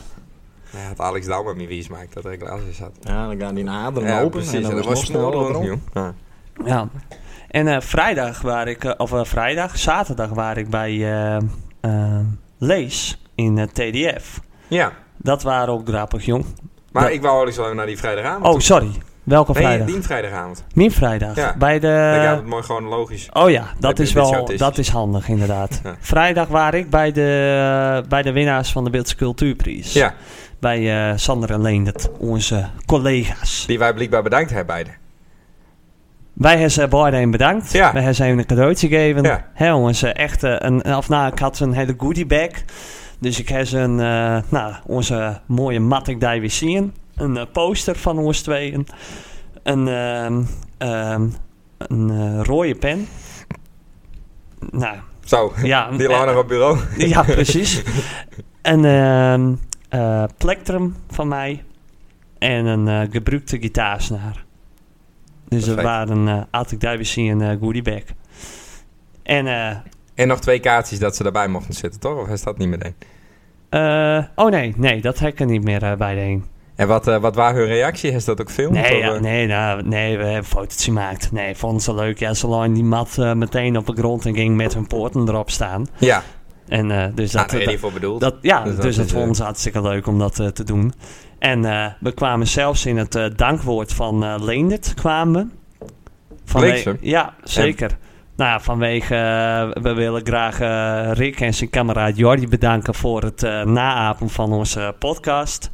S2: Ja,
S1: Ja, had Alex Douwman niet wies maakt dat er een glas in zat.
S3: dan gaan die aderen
S1: Ja,
S3: open.
S1: precies.
S3: En dan was nog sneller
S1: smoren
S3: op
S1: rond, joh. Ja.
S2: ja. En eh, vrijdag waar ik, eh, of eh, vrijdag, zaterdag waar ik bij eh, eh, Lees in eh, TDF.
S1: Ja,
S2: Dat waren ook grappig, jong.
S1: maar
S2: Ja.
S1: ik wou eigenlijk zo even naar die vrijdagavond.
S2: Oh, sorry. Welke
S1: nee,
S2: vrijdag? Eh,
S1: die vrijdagavond.
S2: Mijn vrijdag.
S1: Ja.
S2: Bij
S1: Dan gaat
S2: de...
S1: het mooi gewoon logisch.
S2: Oh ja, dat
S1: je
S2: is
S1: een beetje
S2: wel
S1: autistisch.
S2: dat is handig inderdaad.
S1: Ja.
S2: Vrijdag waar ik bij de, bij de winnaars van de Beeldse Cultuurprijs.
S1: Ja,
S2: Bij eh, Sander en Leendert, onze collega's.
S1: die wij blijkbaar bedankt hebben beiden.
S2: Wij hebben ze beide een bedankt.
S1: Ja.
S2: Wij hebben ze even een cadeautje gegeven.
S1: Ja.
S2: Hè, jongens, eh, echt eh, een... Of nou, ik had een hele goodie bag. Dus ik heb ze een... eh, nou, onze mooie Matic die we zien. Een eh, poster van ons tweeën. Een... ehm, ehm, een eh, rode pen. Nou,
S1: Zo,
S2: ja.
S1: die
S2: eh,
S1: lag nog op bureau.
S2: ja, precies. Een ehm eh, plektrum van mij en een eh, gebruikte gitaarsnaar. Dus dat
S1: Perfect.
S2: waren, eh had ik daar weer zien, een eh, goodie bag. En, eh,
S1: En nog twee kaartjes dat ze daarbij mochten zitten, toch? Of is dat niet meteen?
S2: eh, oh nee, nee, dat heb ik er niet meer eh, bij de een.
S1: En wat, eh, wat waren hun reactie? Is dat ook film?
S2: Nee,
S1: Of,
S2: ja,
S1: eh,
S2: nee, nou, nee, we hebben foto's gemaakt. Nee, vonden ze leuk. Ja, ze lagen die mat eh, meteen op de grond en ging met hun poorten erop staan.
S1: Ja,
S2: En eh, dus
S1: dat,
S2: dat,
S1: daar ben je
S2: dat-
S1: niet voor bedoeld.
S2: Dat, ja,
S1: Dus
S2: dus,
S1: dat
S2: dat,
S1: is, eh,
S2: vond ons hartstikke leuk om dat eh, te doen. En eh, we kwamen zelfs in het eh, dankwoord van eh, Leendert kwamen we.
S1: Leekse?
S2: Ja, zeker. Nou ja, vanwege... eh, we willen graag eh, Rick en zijn kameraad Jordi bedanken voor het eh, naapen van onze podcast.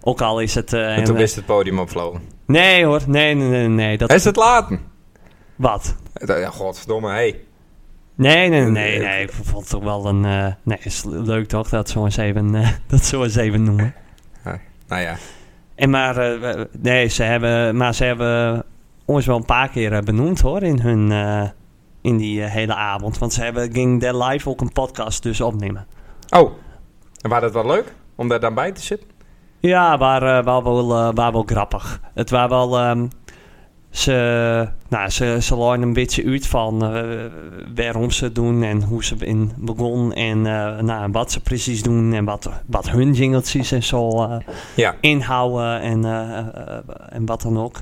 S2: Ook al is het... eh,
S1: en
S2: een-
S1: toen is het podium opvlogen.
S2: nee hoor, nee, nee, nee. nee dat,
S1: Is het laten?
S2: Wat?
S1: Ja, godverdomme, hey.
S2: Nee, nee, nee, nee,
S1: Nee,
S2: nee. Ik vond het toch wel een... eh, nee, is leuk toch dat ze ons even, eh, dat ze ons even noemen.
S1: Nou ja,
S2: En maar, eh, we- nee, ze hebben, maar ze hebben ons wel een paar keer eh, benoemd hoor in hun. eh, in die eh, hele avond. Want ze hebben ging daar live ook een podcast dus opnemen.
S1: Oh, en was dat wel leuk om daar dan bij te zitten?
S2: Ja, waar, eh, waar, wel, eh, waar wel grappig. Het was wel. ehm, ze, nou, ze, ze lagen een beetje uit van eh, waarom ze het doen en hoe ze in begon. En eh, nou, wat ze precies doen en wat, wat hun jingeltjes en zo eh,
S1: Ja.
S2: inhouden en, eh, eh, en wat dan ook.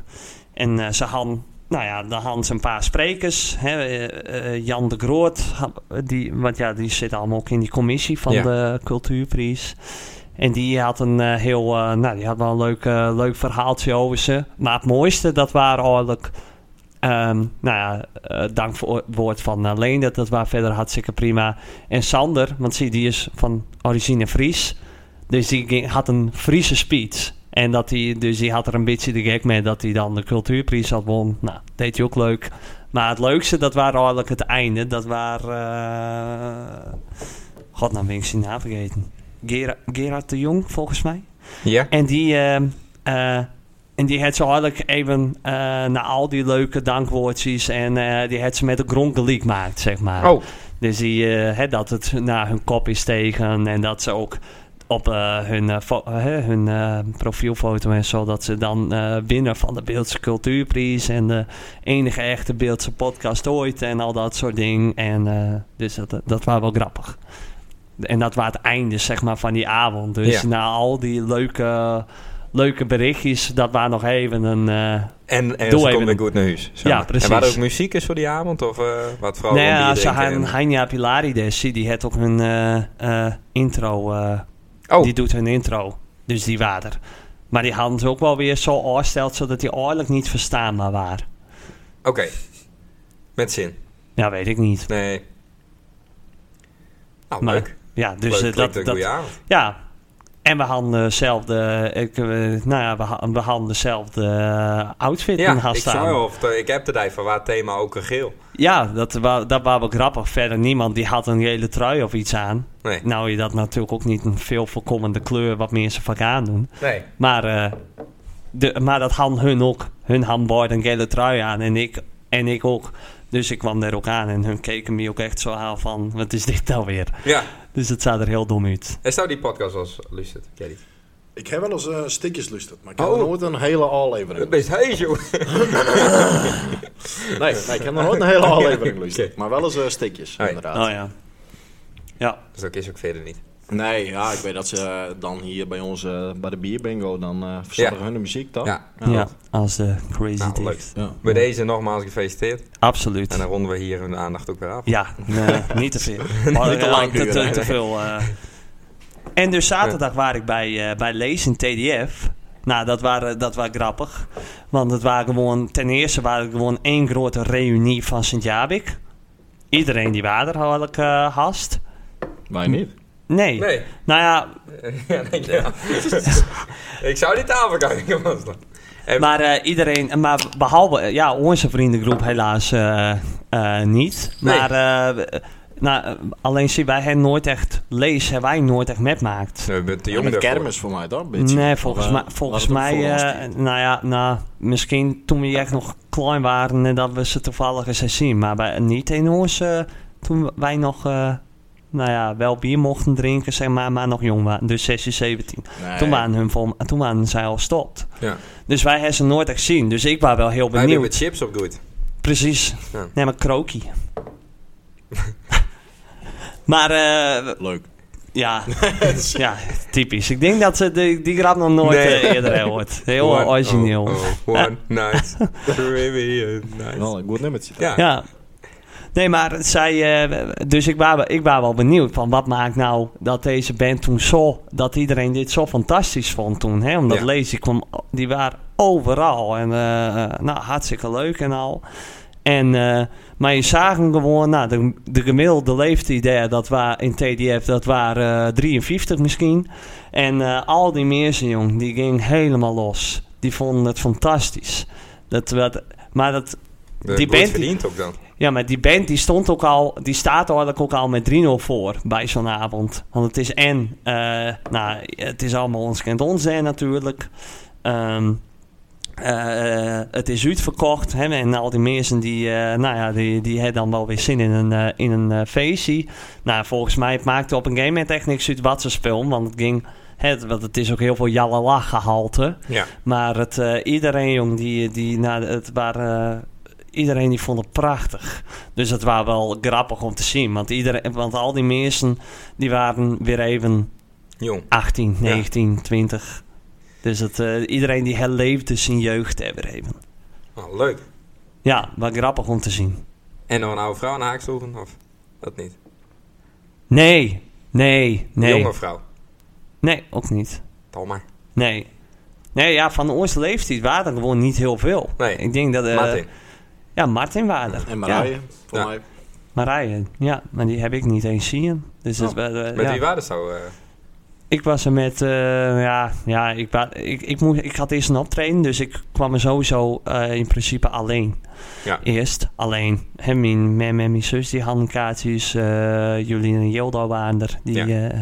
S2: En eh, ze hadden, nou ja, dan hadden ze een paar sprekers. Hè, eh, eh, Jan de Groot, ha- die, want ja, die zit allemaal ook in die commissie van
S1: Ja.
S2: de Cultuurprijs. En die had een eh, heel, eh, nou, die had wel een leuk, eh, leuk verhaaltje over ze. Maar het mooiste, dat waren eigenlijk, ehm, nou ja, eh, dank voor het woord van eh, Leendert, dat was verder hartstikke prima. En Sander, want zie, die is van origine Fries, dus die ging- had een Friese speech. En dat die, dus die had er een beetje de gek mee dat hij dan de cultuurprijs had won. Nou, deed hij ook leuk. Maar het leukste, dat waren eigenlijk het einde. Dat waren... eh, God, nou ben ik zijn naam vergeten. Gera Gerard de Jong, volgens mij.
S1: Ja?
S2: En die, ehm, eh, en die had ze eigenlijk even eh na al die leuke dankwoordjes. En eh, die had ze met de grond gelijk gemaakt, zeg maar.
S1: Oh,
S2: Dus die, eh, hè, dat het naar hun kop is tegen. En dat ze ook op eh, hun, eh, fo- eh, hè, hun eh, profielfoto en zo. Dat ze dan eh winnen van de Beeldse Cultuurprijs. En de enige echte Beeldse podcast ooit. En al dat soort dingen. En eh, dus dat, dat was wel grappig. En dat was het einde zeg maar, van die avond. Dus
S1: Ja.
S2: na al die leuke, leuke berichtjes. Dat was nog even een... eh,
S1: en, en
S2: Doe
S1: ze
S2: even
S1: komt
S2: een-
S1: weer goed naar huis. zeg
S2: Ja,
S1: maar.
S2: precies.
S1: En waren er ook muziek is voor die avond? Of eh, wat vooral
S2: Nou
S1: om
S2: ja,
S1: bier
S2: ze
S1: drinken
S2: hebben
S1: en-
S2: Hanja Pilari dus, die had ook hun eh, eh, intro eh,
S1: Oh.
S2: Die doet hun intro. Dus die water. Maar die hadden ze ook wel weer zo oorsteld zodat die eigenlijk niet verstaanbaar waren.
S1: Oké. Met zin.
S2: Ja, weet ik niet.
S1: Nee. Nou,
S2: Maar-
S1: leuk.
S2: Ja, dus
S1: Dus
S2: eh, dat,
S1: een
S2: dat,
S1: goede avond.
S2: Ja. En we hadden dezelfde, ik, eh, nou ja, we ha- we hadden dezelfde eh, outfit in
S1: Ja,
S2: haar
S1: ik
S2: staan.
S1: zou of eh, ik heb de dij van waar het thema ook een geel.
S2: Ja, dat, wa- dat was wel grappig. Verder niemand die had een gele trui of iets aan.
S1: Nee.
S2: Nou, je dat natuurlijk ook niet een veel voorkomende kleur wat mensen vaak aandoen.
S1: Nee.
S2: Maar, eh, de, maar dat hadden hun ook. Hun hadden beide een gele trui aan en ik, en ik ook. Dus ik kwam daar ook aan en hun keken me ook echt zo aan van, wat is dit nou weer?
S1: Ja.
S2: Dus het zag er heel dom uit.
S1: En zou die podcast als luistert, Kelly?
S3: Ik heb wel eens eh, stikjes lusterd, maar ik heb
S1: Oh.
S3: nog nooit een hele
S1: Het
S3: aflevering.
S1: best heus, joh.
S3: Nee, nee, ik heb nog nooit een hele aflevering lusterd.
S1: Oké.
S3: Maar wel eens eh, stikjes,
S1: Hey.
S3: inderdaad.
S2: Oh ja. Ja,
S1: Dus dat is ook verder niet.
S3: Nee, ja, ik weet dat ze eh, dan hier bij ons, eh, bij de bierbingo, dan eh verzorgen
S1: Ja.
S3: hun de muziek, toch?
S1: Ja.
S2: ja als de crazy
S1: Nou,
S2: dick.
S1: leuk.
S3: Ja.
S1: Bij deze nogmaals gefeliciteerd.
S2: Absoluut.
S1: En dan ronden we hier hun aandacht ook weer af.
S2: Ja, nee, niet te veel. Maar,
S3: Niet te
S2: eh,
S3: lang
S2: te, te,
S3: duren,
S2: te
S3: hè.
S2: veel. eh. En dus zaterdag waar ik bij, eh, bij Lees in TDF. Nou, dat waren, dat waren grappig. Want het waren gewoon, ten eerste waren het gewoon één grote reunie van Sint-Jabik. Iedereen die water had ik eh, hast.
S3: Wij niet.
S2: Nee.
S1: Nee.
S2: Nou ja,
S1: ja, nee, ja. ik zou niet aanverkijken, was dat. En-
S2: maar eh, iedereen, maar behalve eh, ja, onze vriendengroep helaas eh, eh, niet.
S1: Nee.
S2: Maar eh, we- nou, eh, alleen zien wij hen nooit echt, Lees hebben wij nooit echt metmaakt.
S1: Nee, we zijn te
S3: Ja,
S1: jong
S3: met
S1: daarvoor.
S3: kermis voor mij, toch? een beetje?
S2: Nee, volgens,
S3: Of, eh,
S2: mij,
S3: was
S2: volgens
S3: het ook
S2: mij,
S3: voor ons
S2: eh,
S3: niet?
S2: nou ja, nou, misschien toen we echt nog klein waren en dat we ze toevallig eens zien. Maar bij, niet in ons, eh, toen wij nog, eh, nou ja, wel bier mochten drinken, zeg maar, maar nog jong waren. Dus 16, 17.
S3: Nee.
S2: Toen, waren hun vol, toen waren zij al stopt.
S1: Ja.
S2: Dus wij hebben ze nooit echt zien. Dus ik was wel heel
S1: Wij hebben
S2: benieuwd.
S1: met chips opgegroeid.
S2: Precies.
S1: Ja.
S2: Nee, maar krookie. maar, eh,
S3: Leuk.
S2: ja, ja, typisch. Ik denk dat ze die, die grap nog nooit
S1: Nee.
S2: eh, eerder hebben gehoord. Heel
S1: One-
S2: origineel.
S1: Oh, oh, one night. Caribbean night.
S3: Wel een goed nummertje.
S1: Ja.
S2: Ja. Nee, maar zij, eh, dus ik was ik wa wel benieuwd van wat maakt nou dat deze band toen zo, dat iedereen dit zo fantastisch vond toen. Hè? Omdat
S1: Ja.
S2: Lazy kwam, die waren overal en eh, eh, nou, hartstikke leuk en al. En, eh, maar je zag hem gewoon, nou, de, de gemiddelde leeftijd daar, dat waar in TDF, dat waren eh, 53 misschien. En eh, al die mensen, jong, die ging helemaal los. Die vonden het fantastisch. Dat, werd- maar dat
S1: De
S2: Die
S1: bloed
S2: band-
S1: verdient ook dan.
S2: ja, maar die band die stond ook al, die staat eigenlijk ook al met 3-0 voor bij zo'n avond. Want het is en, eh, nou, het is allemaal ons kent ons en natuurlijk. Ehm, eh, het is uitverkocht hè, en al die mensen die, eh, nou ja, die, die hebben dan wel weer zin in een, eh, in een eh, feestje. Nou, volgens mij het maakte op een game moment echt niks uit wat ze speelden, want het ging, het, want het is ook heel veel jalala gehalte.
S1: Ja.
S2: Maar het, eh, iedereen, jong, die, die nou, het waren, eh, iedereen die vond het prachtig. Dus het was wel grappig om te zien. Want, iedereen, want al die mensen, die waren weer even
S1: Jong.
S2: 18,
S1: Ja.
S2: 19, 20. Dus het, eh, iedereen die herleefde zijn jeugd er weer even.
S1: Oh, leuk.
S2: Ja, wat grappig om te zien.
S1: En nog een oude vrouw aan haakstoelen? Of dat niet?
S2: Nee, nee, nee.
S1: Jonge vrouw.
S2: Nee, ook niet.
S1: Tal maar.
S2: Nee. Nee, ja, van onze leeftijd waren er gewoon niet heel veel.
S1: Nee.
S2: Ik denk dat... eh,
S1: Martin.
S2: Ja, Martin waren er.
S3: En
S2: Ja.
S3: Marije, voor
S1: Ja.
S3: mij.
S2: Marije, ja, maar die heb ik niet eens zien. Dus dat, eh,
S1: Oh. Met
S2: ja.
S1: wie waren ze zo? eh?
S2: Ik was er met, eh, ja, ja ik, wa- ik, ik, moest, ik had eerst een optreden, dus ik kwam er sowieso eh, in principe alleen.
S1: Ja.
S2: Eerst alleen. Hè, mijn mem en mijn zus die hadden kaartjes, eh Jolien en Jildo waren er. Die, eh,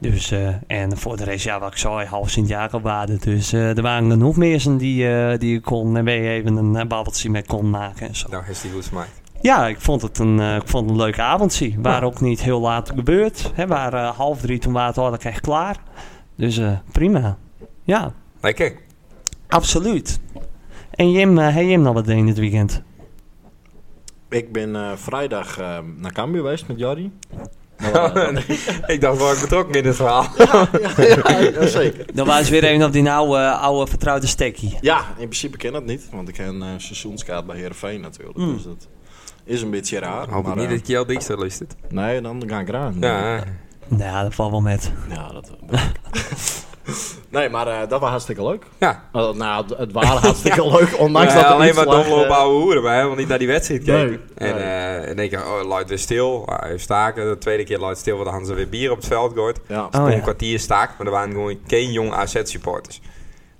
S2: dus, eh, en voor de rest, ja, wat ik zei, half Sint-Jacob waren er. Dus eh, er waren genoeg mensen die, eh, die ik kon, en mee even een eh, babbeltje mee kon maken en zo.
S1: nou, heeft die goed gemaakt.
S2: Ja, ik vond het een, eh, ik vond het een leuke avondje. Waar ook niet heel laat gebeurd. Hè, waar eh, half drie toen waren we het echt klaar. Dus eh, prima. Ja,
S1: Lekker.
S2: absoluut. En Jim, eh hey Jim nog wat deed dit weekend?
S3: Ik ben eh, vrijdag eh, naar Cambuur geweest met Jari.
S1: ik dacht, wel ik betrokken in dit verhaal?
S3: ja, zeker.
S2: Dan was weer even op die oude, oude vertrouwde stekkie.
S3: Ja, in principe ken dat niet, want ik heb een eh, seizoenskaart bij Heerenveen natuurlijk.
S2: Hmm.
S3: Dus dat is een beetje raar.
S1: Hoop ik
S3: maar,
S1: niet
S3: eh,
S1: dat Kjell Dijkstra luistert.
S3: Nee, dan ga ik raar.
S1: Ja. eh.
S2: Nou, dat valt wel met.
S3: Ja, dat... nee, maar eh, dat was hartstikke leuk.
S1: Ja.
S3: Eh, nou, het- het was hartstikke leuk, ondanks
S1: Ja,
S3: dat er
S1: alleen
S3: niet
S1: maar
S3: lag,
S1: domlopen
S3: eh,
S1: ouwe hoeren bij, want niet naar die wedstrijd
S3: Nee,
S1: kijken. En,
S3: nee.
S1: eh, en denk ik, oh, luid weer stil. Ah, hij staken. De tweede keer luid stil, want dan hadden ze weer bier op het veld gooit.
S3: Ja.
S2: Oh,
S1: Gewoon
S2: ja.
S1: een kwartier staak, maar er waren gewoon geen jong AZ-supporters.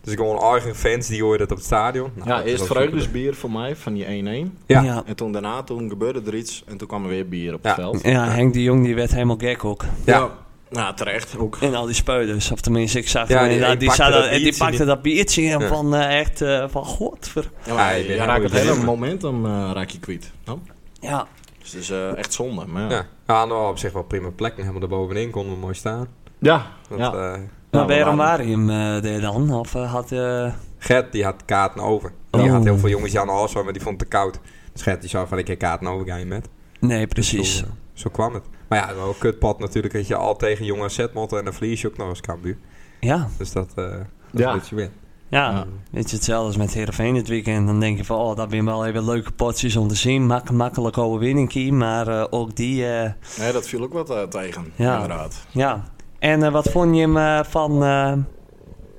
S1: Dus gewoon eigen fans die hoorden dat op het stadion. Nou,
S3: ja,
S1: dat is
S3: eerst dus.
S1: wel goed.
S3: vreugdesbier voor mij, van die 1-1.
S1: Ja.
S2: ja.
S3: En toen daarna, toen gebeurde er iets en toen kwam er weer bier op
S1: Ja.
S3: het veld.
S2: Ja, Henk de Jong die werd helemaal gek ook.
S1: Ja.
S3: Nou, terecht ook.
S2: En al die speuders. Of tenminste, ik zag
S1: Ja,
S2: hem
S1: die-
S2: inderdaad,
S1: die
S2: die,
S1: pakte
S2: zaten-
S1: dat
S2: en die
S1: biertje
S2: pakte
S1: niet.
S2: dat biertje en
S1: Ja.
S2: van eh, echt eh, van godver.
S3: Ja, maar
S1: Ah, je
S3: je
S1: bent
S3: raakt het
S1: helemaal
S3: hele
S1: weer.
S3: momentum eh, raak je kwijt. No?
S2: Ja,
S3: Dus het is eh, echt zonde. Maar ja.
S1: Ja, we hadden wel op zich wel prima plek. Helemaal erbovenin konden we mooi staan.
S3: Ja.
S1: Dat,
S3: Ja.
S1: eh,
S2: maar waarom
S3: maar-
S2: waren hem eh, daar dan? Of eh, had... eh,
S1: Gert die had kaarten over. Die
S2: Oh.
S1: had heel veel jongens die aan de hals waren, maar die vond het te koud. Dus Gert die zei van ik heb kaarten over, ga je met.
S2: nee,
S1: Dus
S2: precies.
S1: Zo, eh, zo kwam het. Maar ja, wel een kutpad natuurlijk dat je al tegen jonge setmotten en dan verlies je ook nog eens Cambuur.
S2: Ja.
S1: Dus dat, eh dat
S3: Ja.
S1: is wat je wint.
S2: Ja,
S3: Ja.
S2: weet je, hetzelfde als met Heerenveen dit weekend. Dan denk je van, oh, dat zijn wel even leuke potjes om te zien. Mak makkelijk overwinningkie, maar eh, ook die, eh,
S3: Nee, dat viel ook wat eh, tegen.
S2: Ja.
S3: Inderdaad.
S2: ja. En eh, wat vond je hem eh, van eh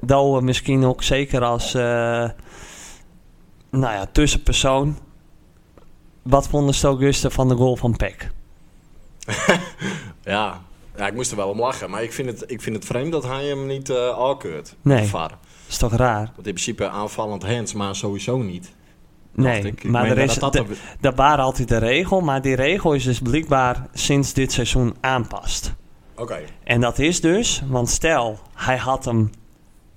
S2: Douwe misschien ook zeker als, eh, nou ja, tussenpersoon? Wat vonden ze ook rustig van de goal van Peck?
S3: Ja. ja, ik moest er wel om lachen. Maar ik vind het, ik vind het vreemd dat hij hem niet eh alkeurt.
S2: Nee.
S3: de VAR.
S2: is toch raar?
S3: Want in principe aanvallend hands, maar sowieso niet.
S2: Nee,
S3: Dacht ik. Ik
S2: maar
S3: meen
S2: er is,
S3: dat
S2: dat,
S3: dat
S2: dat...
S3: er-
S2: waren altijd de regel, maar die regel is dus blijkbaar sinds dit seizoen aanpast.
S3: Oké.
S2: En dat is dus, want stel, hij had hem,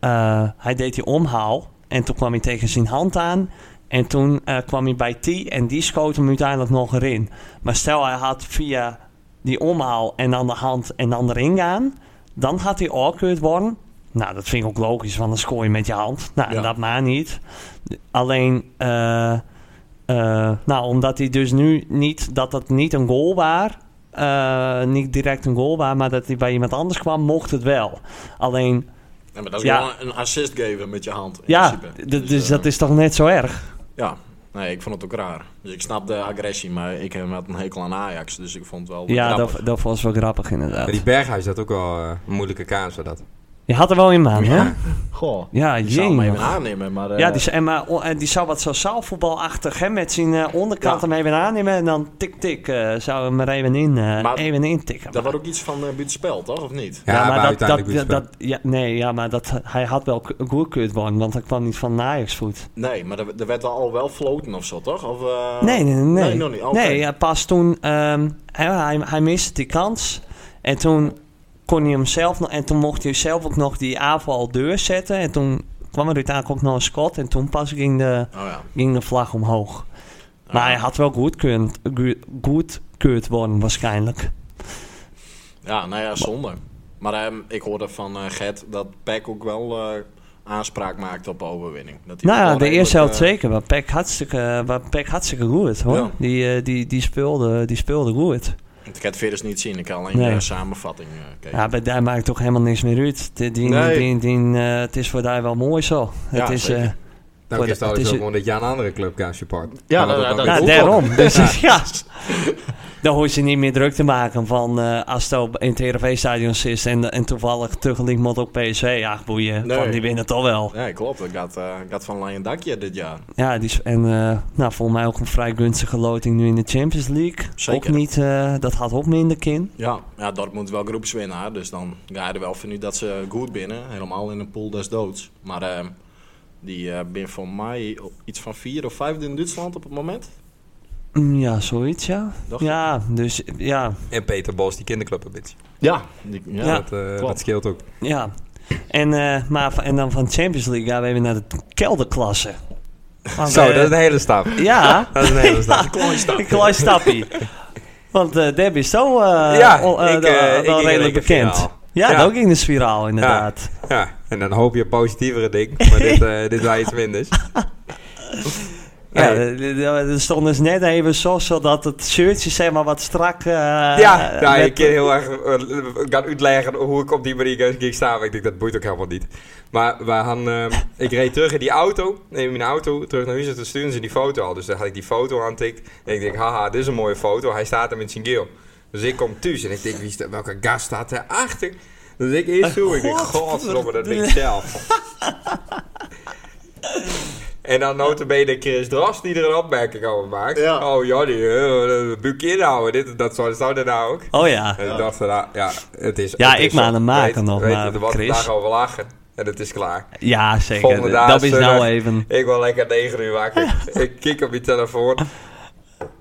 S2: eh, hij deed die omhaal en toen kwam hij tegen zijn hand aan. En toen eh, kwam hij bij T en die schoot hem uiteindelijk nog erin. Maar stel, hij had via die omhaal en dan de hand en dan erin gaan, dan had hij awkward worden. Nou, dat vind ik ook logisch, want dan scoor je met je hand. Nou, en
S3: Ja.
S2: dat maar niet. Alleen, eh, eh, nou, omdat hij dus nu niet, dat dat niet een goal was, eh, niet direct een goal was, maar dat hij bij iemand anders kwam, mocht het wel. Alleen,
S3: Ja, maar dat is
S2: Ja.
S3: wel een assist geven met je hand. In
S2: ja,
S3: principe.
S2: d- dus,
S3: eh,
S2: dat is toch net zo erg?
S3: Ja, nee, ik vond het ook raar. Dus ik snap de agressie, maar ik heb wel een hekel aan Ajax. Dus ik vond het wel
S2: Ja,
S3: grappig.
S2: dat, dat was wel grappig inderdaad.
S1: Maar die Berghuis had ook wel eh, een moeilijke kaas voor dat. Nou,
S2: Je had er wel in man, hè?
S3: Goh,
S2: Ja,
S3: die zou hem even
S2: jee.
S3: aannemen, maar... eh,
S2: Ja, die, zou- en, maar, o- en die zou wat zo zaalvoetbalachtig, hè, met zijn eh, onderkant
S3: Ja.
S2: hem even aannemen en dan tik-tik eh, zou hem er even in, eh,
S3: Maar
S2: even in tikken.
S3: Dat was ook iets van eh buitenspel, toch? Of niet?
S1: Ja, maar, uiteindelijk
S2: dat, dat, ja, nee, ja, maar dat, hij had wel k- goed kunnen worden, want hij kwam niet van Ajax voet.
S3: Nee, maar er, er werd al wel floten of zo, toch? Of, eh,
S2: nee, nee, nee.
S3: Nee,
S2: Nee,
S3: nog niet. Oké.
S2: ja, pas toen, ehm, hij, hij, hij miste die kans en toen kon hij hem zelf nog, en toen mocht hij zelf ook nog die aanval doorzetten en toen kwam er uiteindelijk ook nog een schot en toen pas ging de,
S3: Oh ja.
S2: ging de vlag omhoog. Maar hij had wel goed kunnen, goed keurd worden waarschijnlijk.
S3: Ja, nou ja, zonde. Maar ehm, ik hoorde van eh Gert dat Peck ook wel eh, aanspraak maakte op overwinning. Dat hij
S2: Nou
S3: wel
S2: ja, de
S3: redelijk,
S2: eerste helft
S3: eh,
S2: zeker. Maar Peck hartstikke, eh, maar Peck hartstikke goed hoor.
S3: Ja.
S2: Die, eh, die, die, speelde, die speelde goed.
S3: Ik heb het verder niet zien, ik heb alleen
S2: Nee.
S3: de samenvatting eh, gekeken.
S2: Ja, bij daar maakt toch helemaal niks meer uit. Die, die,
S3: Nee.
S2: die, die, eh, het is voor daar wel mooi zo.
S3: Ja,
S2: het is, eh,
S3: zeker.
S1: Nou,
S2: dat-
S1: is het
S2: dat is-
S1: gewoon dat je aan een andere club kaas support.
S3: Ja,
S1: Kan
S3: dat-
S1: ook
S3: dat-
S1: nog
S2: nou,
S3: hoeft
S1: eens.
S3: ook.
S2: daarom. Dus ja. Dan hoef je niet meer druk te maken van eh als het op- in het RV-stadion zit en, en toevallig tegelijk moet ook PSV. Ja, boeien.
S3: Nee.
S2: Van, die winnen toch wel.
S3: Ja, klopt. Ik had, eh, ik had van Lion Dakje dit jaar.
S2: Ja, die is, en eh, nou, volgens mij ook een vrij gunstige loting nu in de Champions League.
S3: Zeker.
S2: Ook niet, eh, dat had ook minder kin.
S3: Ja, ja Dortmund wel groepswinnaar. Dus dan ga je er wel van nu dat ze goed binnen. Helemaal in een pool des doods. Maar ehm, die eh ben voor mij op iets van vier of vijfde in Duitsland op het moment.
S2: Mm, Ja, zoiets, ja.
S3: Dacht
S2: Ja, dus ja,
S1: En Peter Bos, die kinderclub een beetje.
S3: Ja. die- ja.
S2: Ja.
S1: Dat, eh,
S3: klopt.
S1: dat scheelt ook.
S2: ja. En, eh, maar, van- en dan van Champions League gaan we even naar de kelderklasse. Want,
S1: Zo,
S2: eh,
S1: dat is een hele stap.
S2: Ja,
S1: Dat is een hele stap.
S2: een klein stapje. Want eh Deb is zo eh,
S1: Ja,
S2: al- eh,
S1: ik,
S2: wel-
S1: eh,
S2: wel
S1: ik ging in
S2: redelijk
S1: de
S2: bekend.
S1: spiraal.
S2: Ja,
S1: Ja.
S2: dat ook in de spiraal inderdaad.
S1: Ja, en dan hoop je een positievere ding. Maar dit, eh dit was iets minders.
S2: Ja,
S1: Nee.
S2: er- er er stond dus net even zo, zodat het shirtje zeg maar wat strak... eh,
S1: Ja, nou,
S2: werd-
S1: ik kan heel erg eh, gaan uitleggen hoe ik op die manier ging staan. Maar ik denk, dat boeit ook helemaal niet. Maar we hadden, eh, ik reed terug in die auto, neem mijn auto, terug naar huis. En toen stuurden ze die foto al. Dus dan had ik die foto aantikt. En ik denk, haha, dit is een mooie foto. Hij staat er met zijn geel. Dus ik kom thuis en ik denk, wie is dat, welke gast staat erachter? Dus ik eerst
S2: Eh,
S1: zo, ik denk, godverdomme, dat ben ik zelf. En dan notabene Chris Dras die er een opmerking over maakt.
S3: Ja.
S1: Oh Johnny, uh, buik inhouden, dit en dat, zo zou dat nou ook.
S2: Oh ja.
S1: En ik dacht, nou, ja, het is...
S2: Ja,
S1: het is
S2: ik maak
S1: zo.
S2: hem maken
S1: Weet-
S2: nog,
S1: weet
S2: maar
S1: je, er wordt
S2: Chris.
S1: daarover lachen en het is klaar.
S2: Ja,
S1: Volgende eh,
S2: zeker.
S1: dag,
S2: Dat is nou
S1: zondag.
S2: even.
S1: Ik wil lekker 9 uur wakker. ik kijk op je telefoon.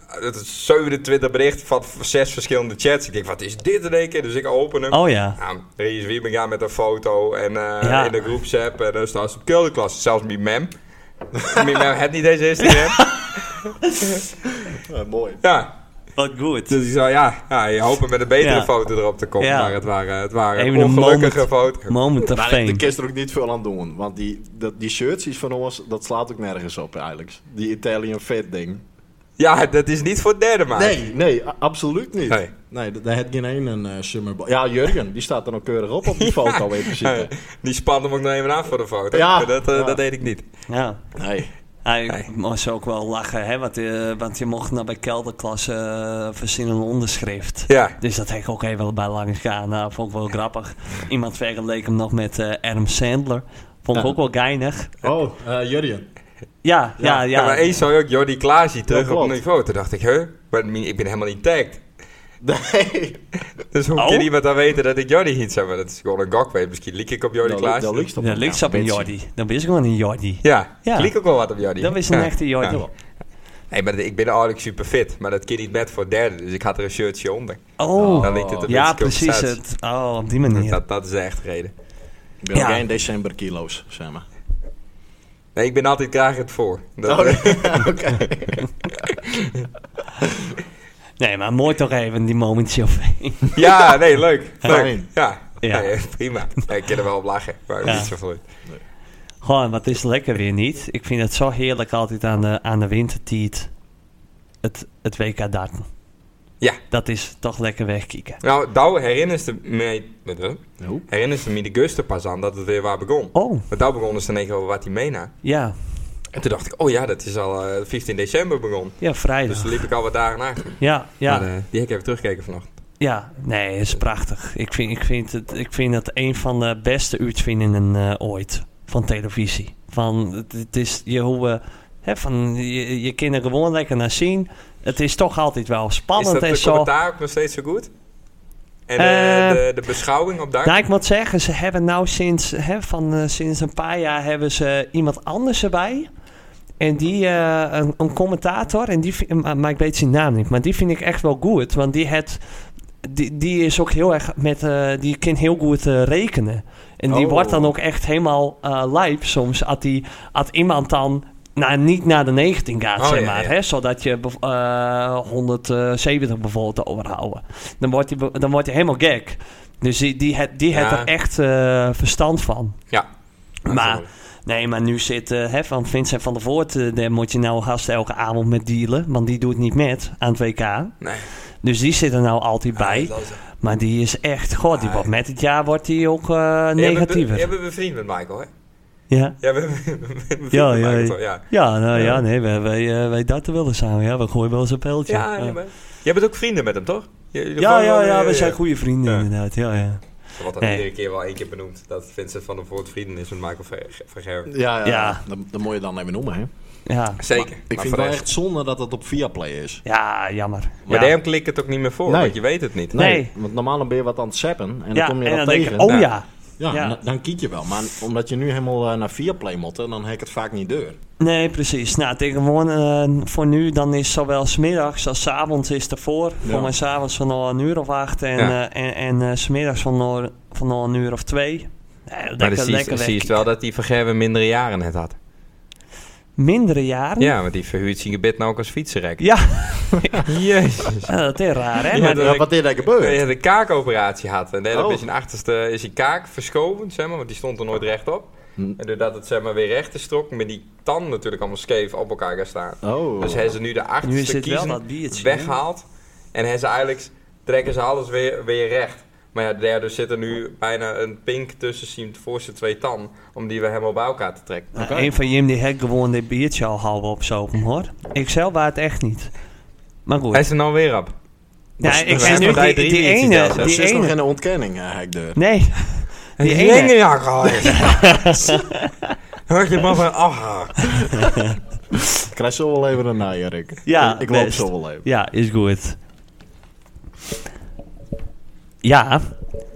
S1: Het is 27 berichten van v- zes verschillende chats. Ik denk, wat is dit in één keer? Dus ik open hem.
S2: Oh ja.
S1: Nou, Ries Wiebinga met een foto en eh,
S2: Ja.
S1: in de groepsapp. En dan staat ze op kelderklas. Zelfs mijn mem. mijn mem had niet deze Instagram.
S3: Ja, eh, mooi.
S1: ja,
S2: Wat goed.
S1: dus ik zei, ja, ja, je hoopt met een betere
S2: Ja.
S1: foto erop te komen.
S2: Ja.
S1: Maar het waren, het waren
S2: Even een
S1: ongelukkige foto's.
S2: Moment of
S3: Maar ik- ik
S2: fame.
S3: kan er ook niet veel aan doen. Want die, dat, die shirts die van ons, dat slaat ook nergens op eigenlijk. Die Italian Fat ding.
S1: Ja, dat is niet voor derde maand.
S3: Nee, nee, a- absoluut niet.
S1: Nee.
S3: Nee, d- daar had geen één een eh, summerball. Ja, Jurgen, die staat er nog keurig op op die foto in principe.
S1: Die spande hem ook nog even aan voor de foto.
S3: Ja.
S1: Dat, eh,
S3: Ja.
S1: dat deed ik niet.
S2: Ja.
S3: Nee,
S2: Hij
S1: Hey.
S2: moest ook wel lachen, hè? Want, eh, want je mocht nou bij kelderklasse eh, voorzien een onderschrift.
S1: Ja.
S2: Dus dat heb ik ook even wel bij langs gaan. Nou, vond ik wel grappig. Iemand vergeleek hem nog met eh Adam Sandler. Vond ik
S3: Ja.
S2: ook wel geinig.
S3: Oh, eh Jurgen.
S2: Ja, ja, ja.
S1: Ja, maar eens zag ik ook Jordi Klaasie terug op
S3: klopt.
S1: niveau. Toen dacht ik, huh? Maar mi- ik ben helemaal niet tagged.
S3: Nee,
S1: Dus hoe
S2: Oh?
S1: kan iemand dan weten dat ik Jordi niet zou? Maar dat is gewoon een gok weet. Misschien liek ik op Jordi
S3: Nou, dat
S1: Klaasie.
S3: dat lukt toch
S2: dat
S3: wel.
S2: ligt
S3: Ja,
S2: op een
S3: bitch.
S2: Jordi. Dan ben je gewoon een Jordi.
S1: Ja,
S2: Ja.
S1: ik liek ook wel wat op Jordi.
S2: Dat is een
S1: Ja.
S2: echte Jordi.
S1: Ja. Nee, maar ik ben eigenlijk super fit. Maar dat kan niet met voor derde. Dus ik had er een shirtje onder.
S2: Oh,
S1: Dan liet het een
S2: ja,
S1: beetje
S2: precies.
S1: compensatie.
S2: Het. Oh, op die manier.
S1: Dat, dat is de echte reden.
S3: Ik ben ook
S2: Ja.
S3: geen december kilo's, zeg maar.
S1: Nee, ik ben altijd graag het voor. Dat,
S3: Oh, Oké.
S2: Nee, maar mooi toch even die momentje of
S1: ja, nee, leuk. leuk.
S3: Fijn.
S1: Ja.
S2: Ja.
S1: Nee, prima. Ja, ik kan er wel op lachen. Maar
S2: Ja.
S1: niet zo vloeit.
S2: Gewoon, wat is lekker weer niet. Ik vind het zo heerlijk altijd aan de, aan de wintertijd. Het, het WK darten.
S1: Ja.
S2: Dat is toch lekker wegkieken.
S1: Nou, nou herinnert ze mij...
S3: Nou,
S1: Herinner ze me de guster pas aan dat het weer waar begon.
S2: Oh,
S1: Want daar begonnen ze in één keer over wat hij meena.
S2: ja.
S1: En toen dacht ik, oh ja, dat is al eh, 15 december begon.
S2: Ja,
S1: Dus
S2: vrijdag.
S1: toen liep ik al wat dagen achter.
S2: Ja, ja,
S1: Maar, eh, die heb ik even teruggekeken vanochtend.
S2: ja. Nee, het is prachtig. Ik vind, ik vind, het, ik vind het een van de beste uitvindingen eh, ooit van televisie. Van, het, het is je hoe... eh, hè, van, je, je kan er gewoon lekker naar zien. Het is toch altijd wel
S1: Is
S2: spannend
S1: dat
S2: en
S1: de
S2: zo.
S1: commentaar ook nog steeds zo goed? En eh,
S2: Eh,
S1: de, de beschouwing op daar?
S2: Nou, ik moet zeggen, ze hebben nou sinds, hè, van, eh, sinds een paar jaar hebben ze iemand anders erbij. En die, eh, een, een commentator, en die, vind- maar maar ik weet zijn naam niet, maar die vind ik echt wel goed. Want die, het, die, die is ook heel erg met, eh, die kan heel goed eh, rekenen. En die
S3: Oh.
S2: wordt dan ook echt helemaal eh lijp soms, als, die, als iemand dan nou, niet naar de 19 gaat,
S1: Oh,
S2: zeg
S1: ja,
S2: maar.
S1: ja.
S2: Hè, zodat je bev- eh, 170 bijvoorbeeld overhouden. Dan wordt hij dan wordt hij helemaal gek. Dus die, die, het- die heeft
S1: Ja.
S2: er echt eh, verstand van.
S1: Ja.
S2: Maar, nee, maar nu zit eh, hè, van Vincent van der Voort, eh, daar moet je nou gast elke avond met dealen. Want die doet niet met aan het WK.
S1: Nee.
S2: Dus die zit er nou altijd bij.
S1: Ah, dat is-
S2: Maar die is echt, god, die
S1: Ah,
S2: wordt met het jaar wordt die ook eh,
S1: Jij bent be- Jij
S2: negatiever.
S1: bent bevriend met Michael, hè?
S2: Ja,
S1: Jij bent bevriend met
S2: Ja, ja,
S1: Michael,
S2: ja.
S1: toch? Ja,
S2: ja, nou,
S1: Ja.
S2: ja nee, wij, wij, eh, wij darten wel eens samen. Ja, we gooien wel eens een pijltje.
S1: ja, nee, maar- Jij bent ook vrienden met hem, toch? Je- jullie
S2: ja,
S1: vallen wel-
S2: ja, ja, we zijn goede vrienden
S1: Ja.
S2: inderdaad. Ja, ja.
S1: Er wordt dan
S2: Nee.
S1: iedere keer wel één keer benoemd dat Vincent van der Voort vrienden is met Michael Ver- Vergerber.
S3: Ja, ja,
S2: Ja.
S3: Dat, dat moet je dan even noemen, hè.
S2: ja.
S1: Zeker.
S3: Maar
S1: Maar voor
S3: ik vind
S1: de
S3: het wel
S1: rest-
S3: echt zonde dat het op Viaplay is.
S2: Ja, jammer.
S1: Maar
S2: ja.
S1: daarom klikt het ook niet meer voor,
S3: Nee.
S1: want je weet het niet.
S2: Nee.
S3: Want normaal dan ben je wat aan het zappen
S2: ja,
S3: en dan kom je
S2: en
S3: wat
S2: dan
S3: tegen.
S2: denk ik,
S1: Ja.
S2: oh ja.
S3: Ja,
S2: Ja.
S3: dan- dan kiek je wel. Maar omdat je nu helemaal eh, naar Viaplay moet, hè, dan hek ik het vaak niet deur.
S2: Nee, precies. Nou, tegenwoordig eh, voor nu, dan is zowel smiddags als 's avonds is ervoor. Voor mij s'avonds van al een uur of acht en,
S1: Ja.
S2: eh, en, en eh, 's middags van al, van al een uur of twee. Nee,
S1: Maar
S2: lekker,
S1: dan zie je-
S2: lekker Oh.
S1: dan zie je
S2: weg.
S1: wel dat die Vergerber mindere jaren net had.
S2: Mindere jaren?
S1: Ja, want die verhuurt zijn gebit nou ook als fietsenrek.
S2: Ja,
S1: Jezus.
S2: eh, dat is raar, hè?
S1: Ja,
S2: Maar-
S1: dat-
S3: wat is er
S1: Hij
S3: gebeurd?
S1: had een kaakoperatie had. En daarop
S3: Oh.
S1: is zijn achterste is zijn kaak verschoven, zeg maar, want die stond er nooit rechtop.
S3: Hm.
S1: En doordat het zeg maar, weer recht is trok, met die tanden natuurlijk allemaal scheef op elkaar gaan staan.
S3: Oh.
S1: Dus hij ze nu de
S2: Nu is
S1: achterste
S2: het wel
S1: kiezen
S2: dat biertje,
S1: weghaalt. En hij ze eigenlijk trekken ze alles weer, weer recht. Maar ja, daardoor zit er nu bijna een pink tussen zijn voorste twee tanden. Om die we helemaal bij elkaar te trekken.
S2: Nou,
S3: Oké.
S2: Een van Jim die hek gewoon dit biertje al halve op zo'n hoor. Ik zelf waar het echt niet. Maar goed.
S1: Hij is er nou weer op.
S2: Ja, ik
S1: zijn
S2: en nu
S1: nog
S2: die,
S1: drie
S2: die
S1: minuten zelfs,
S2: ene,
S1: hè?
S3: Dat
S2: die
S3: is dus nog
S2: ene.
S3: geen ontkenning, eh, Hekdeur.
S2: Nee, die
S1: Die ene
S2: ene.
S1: ja, Hoor je maar van, ah.
S3: Ik krijg zo wel even een naaier, Rick.
S2: Ja,
S3: ik, ik loop
S2: best.
S3: zo wel even.
S2: Ja, is goed. Ja,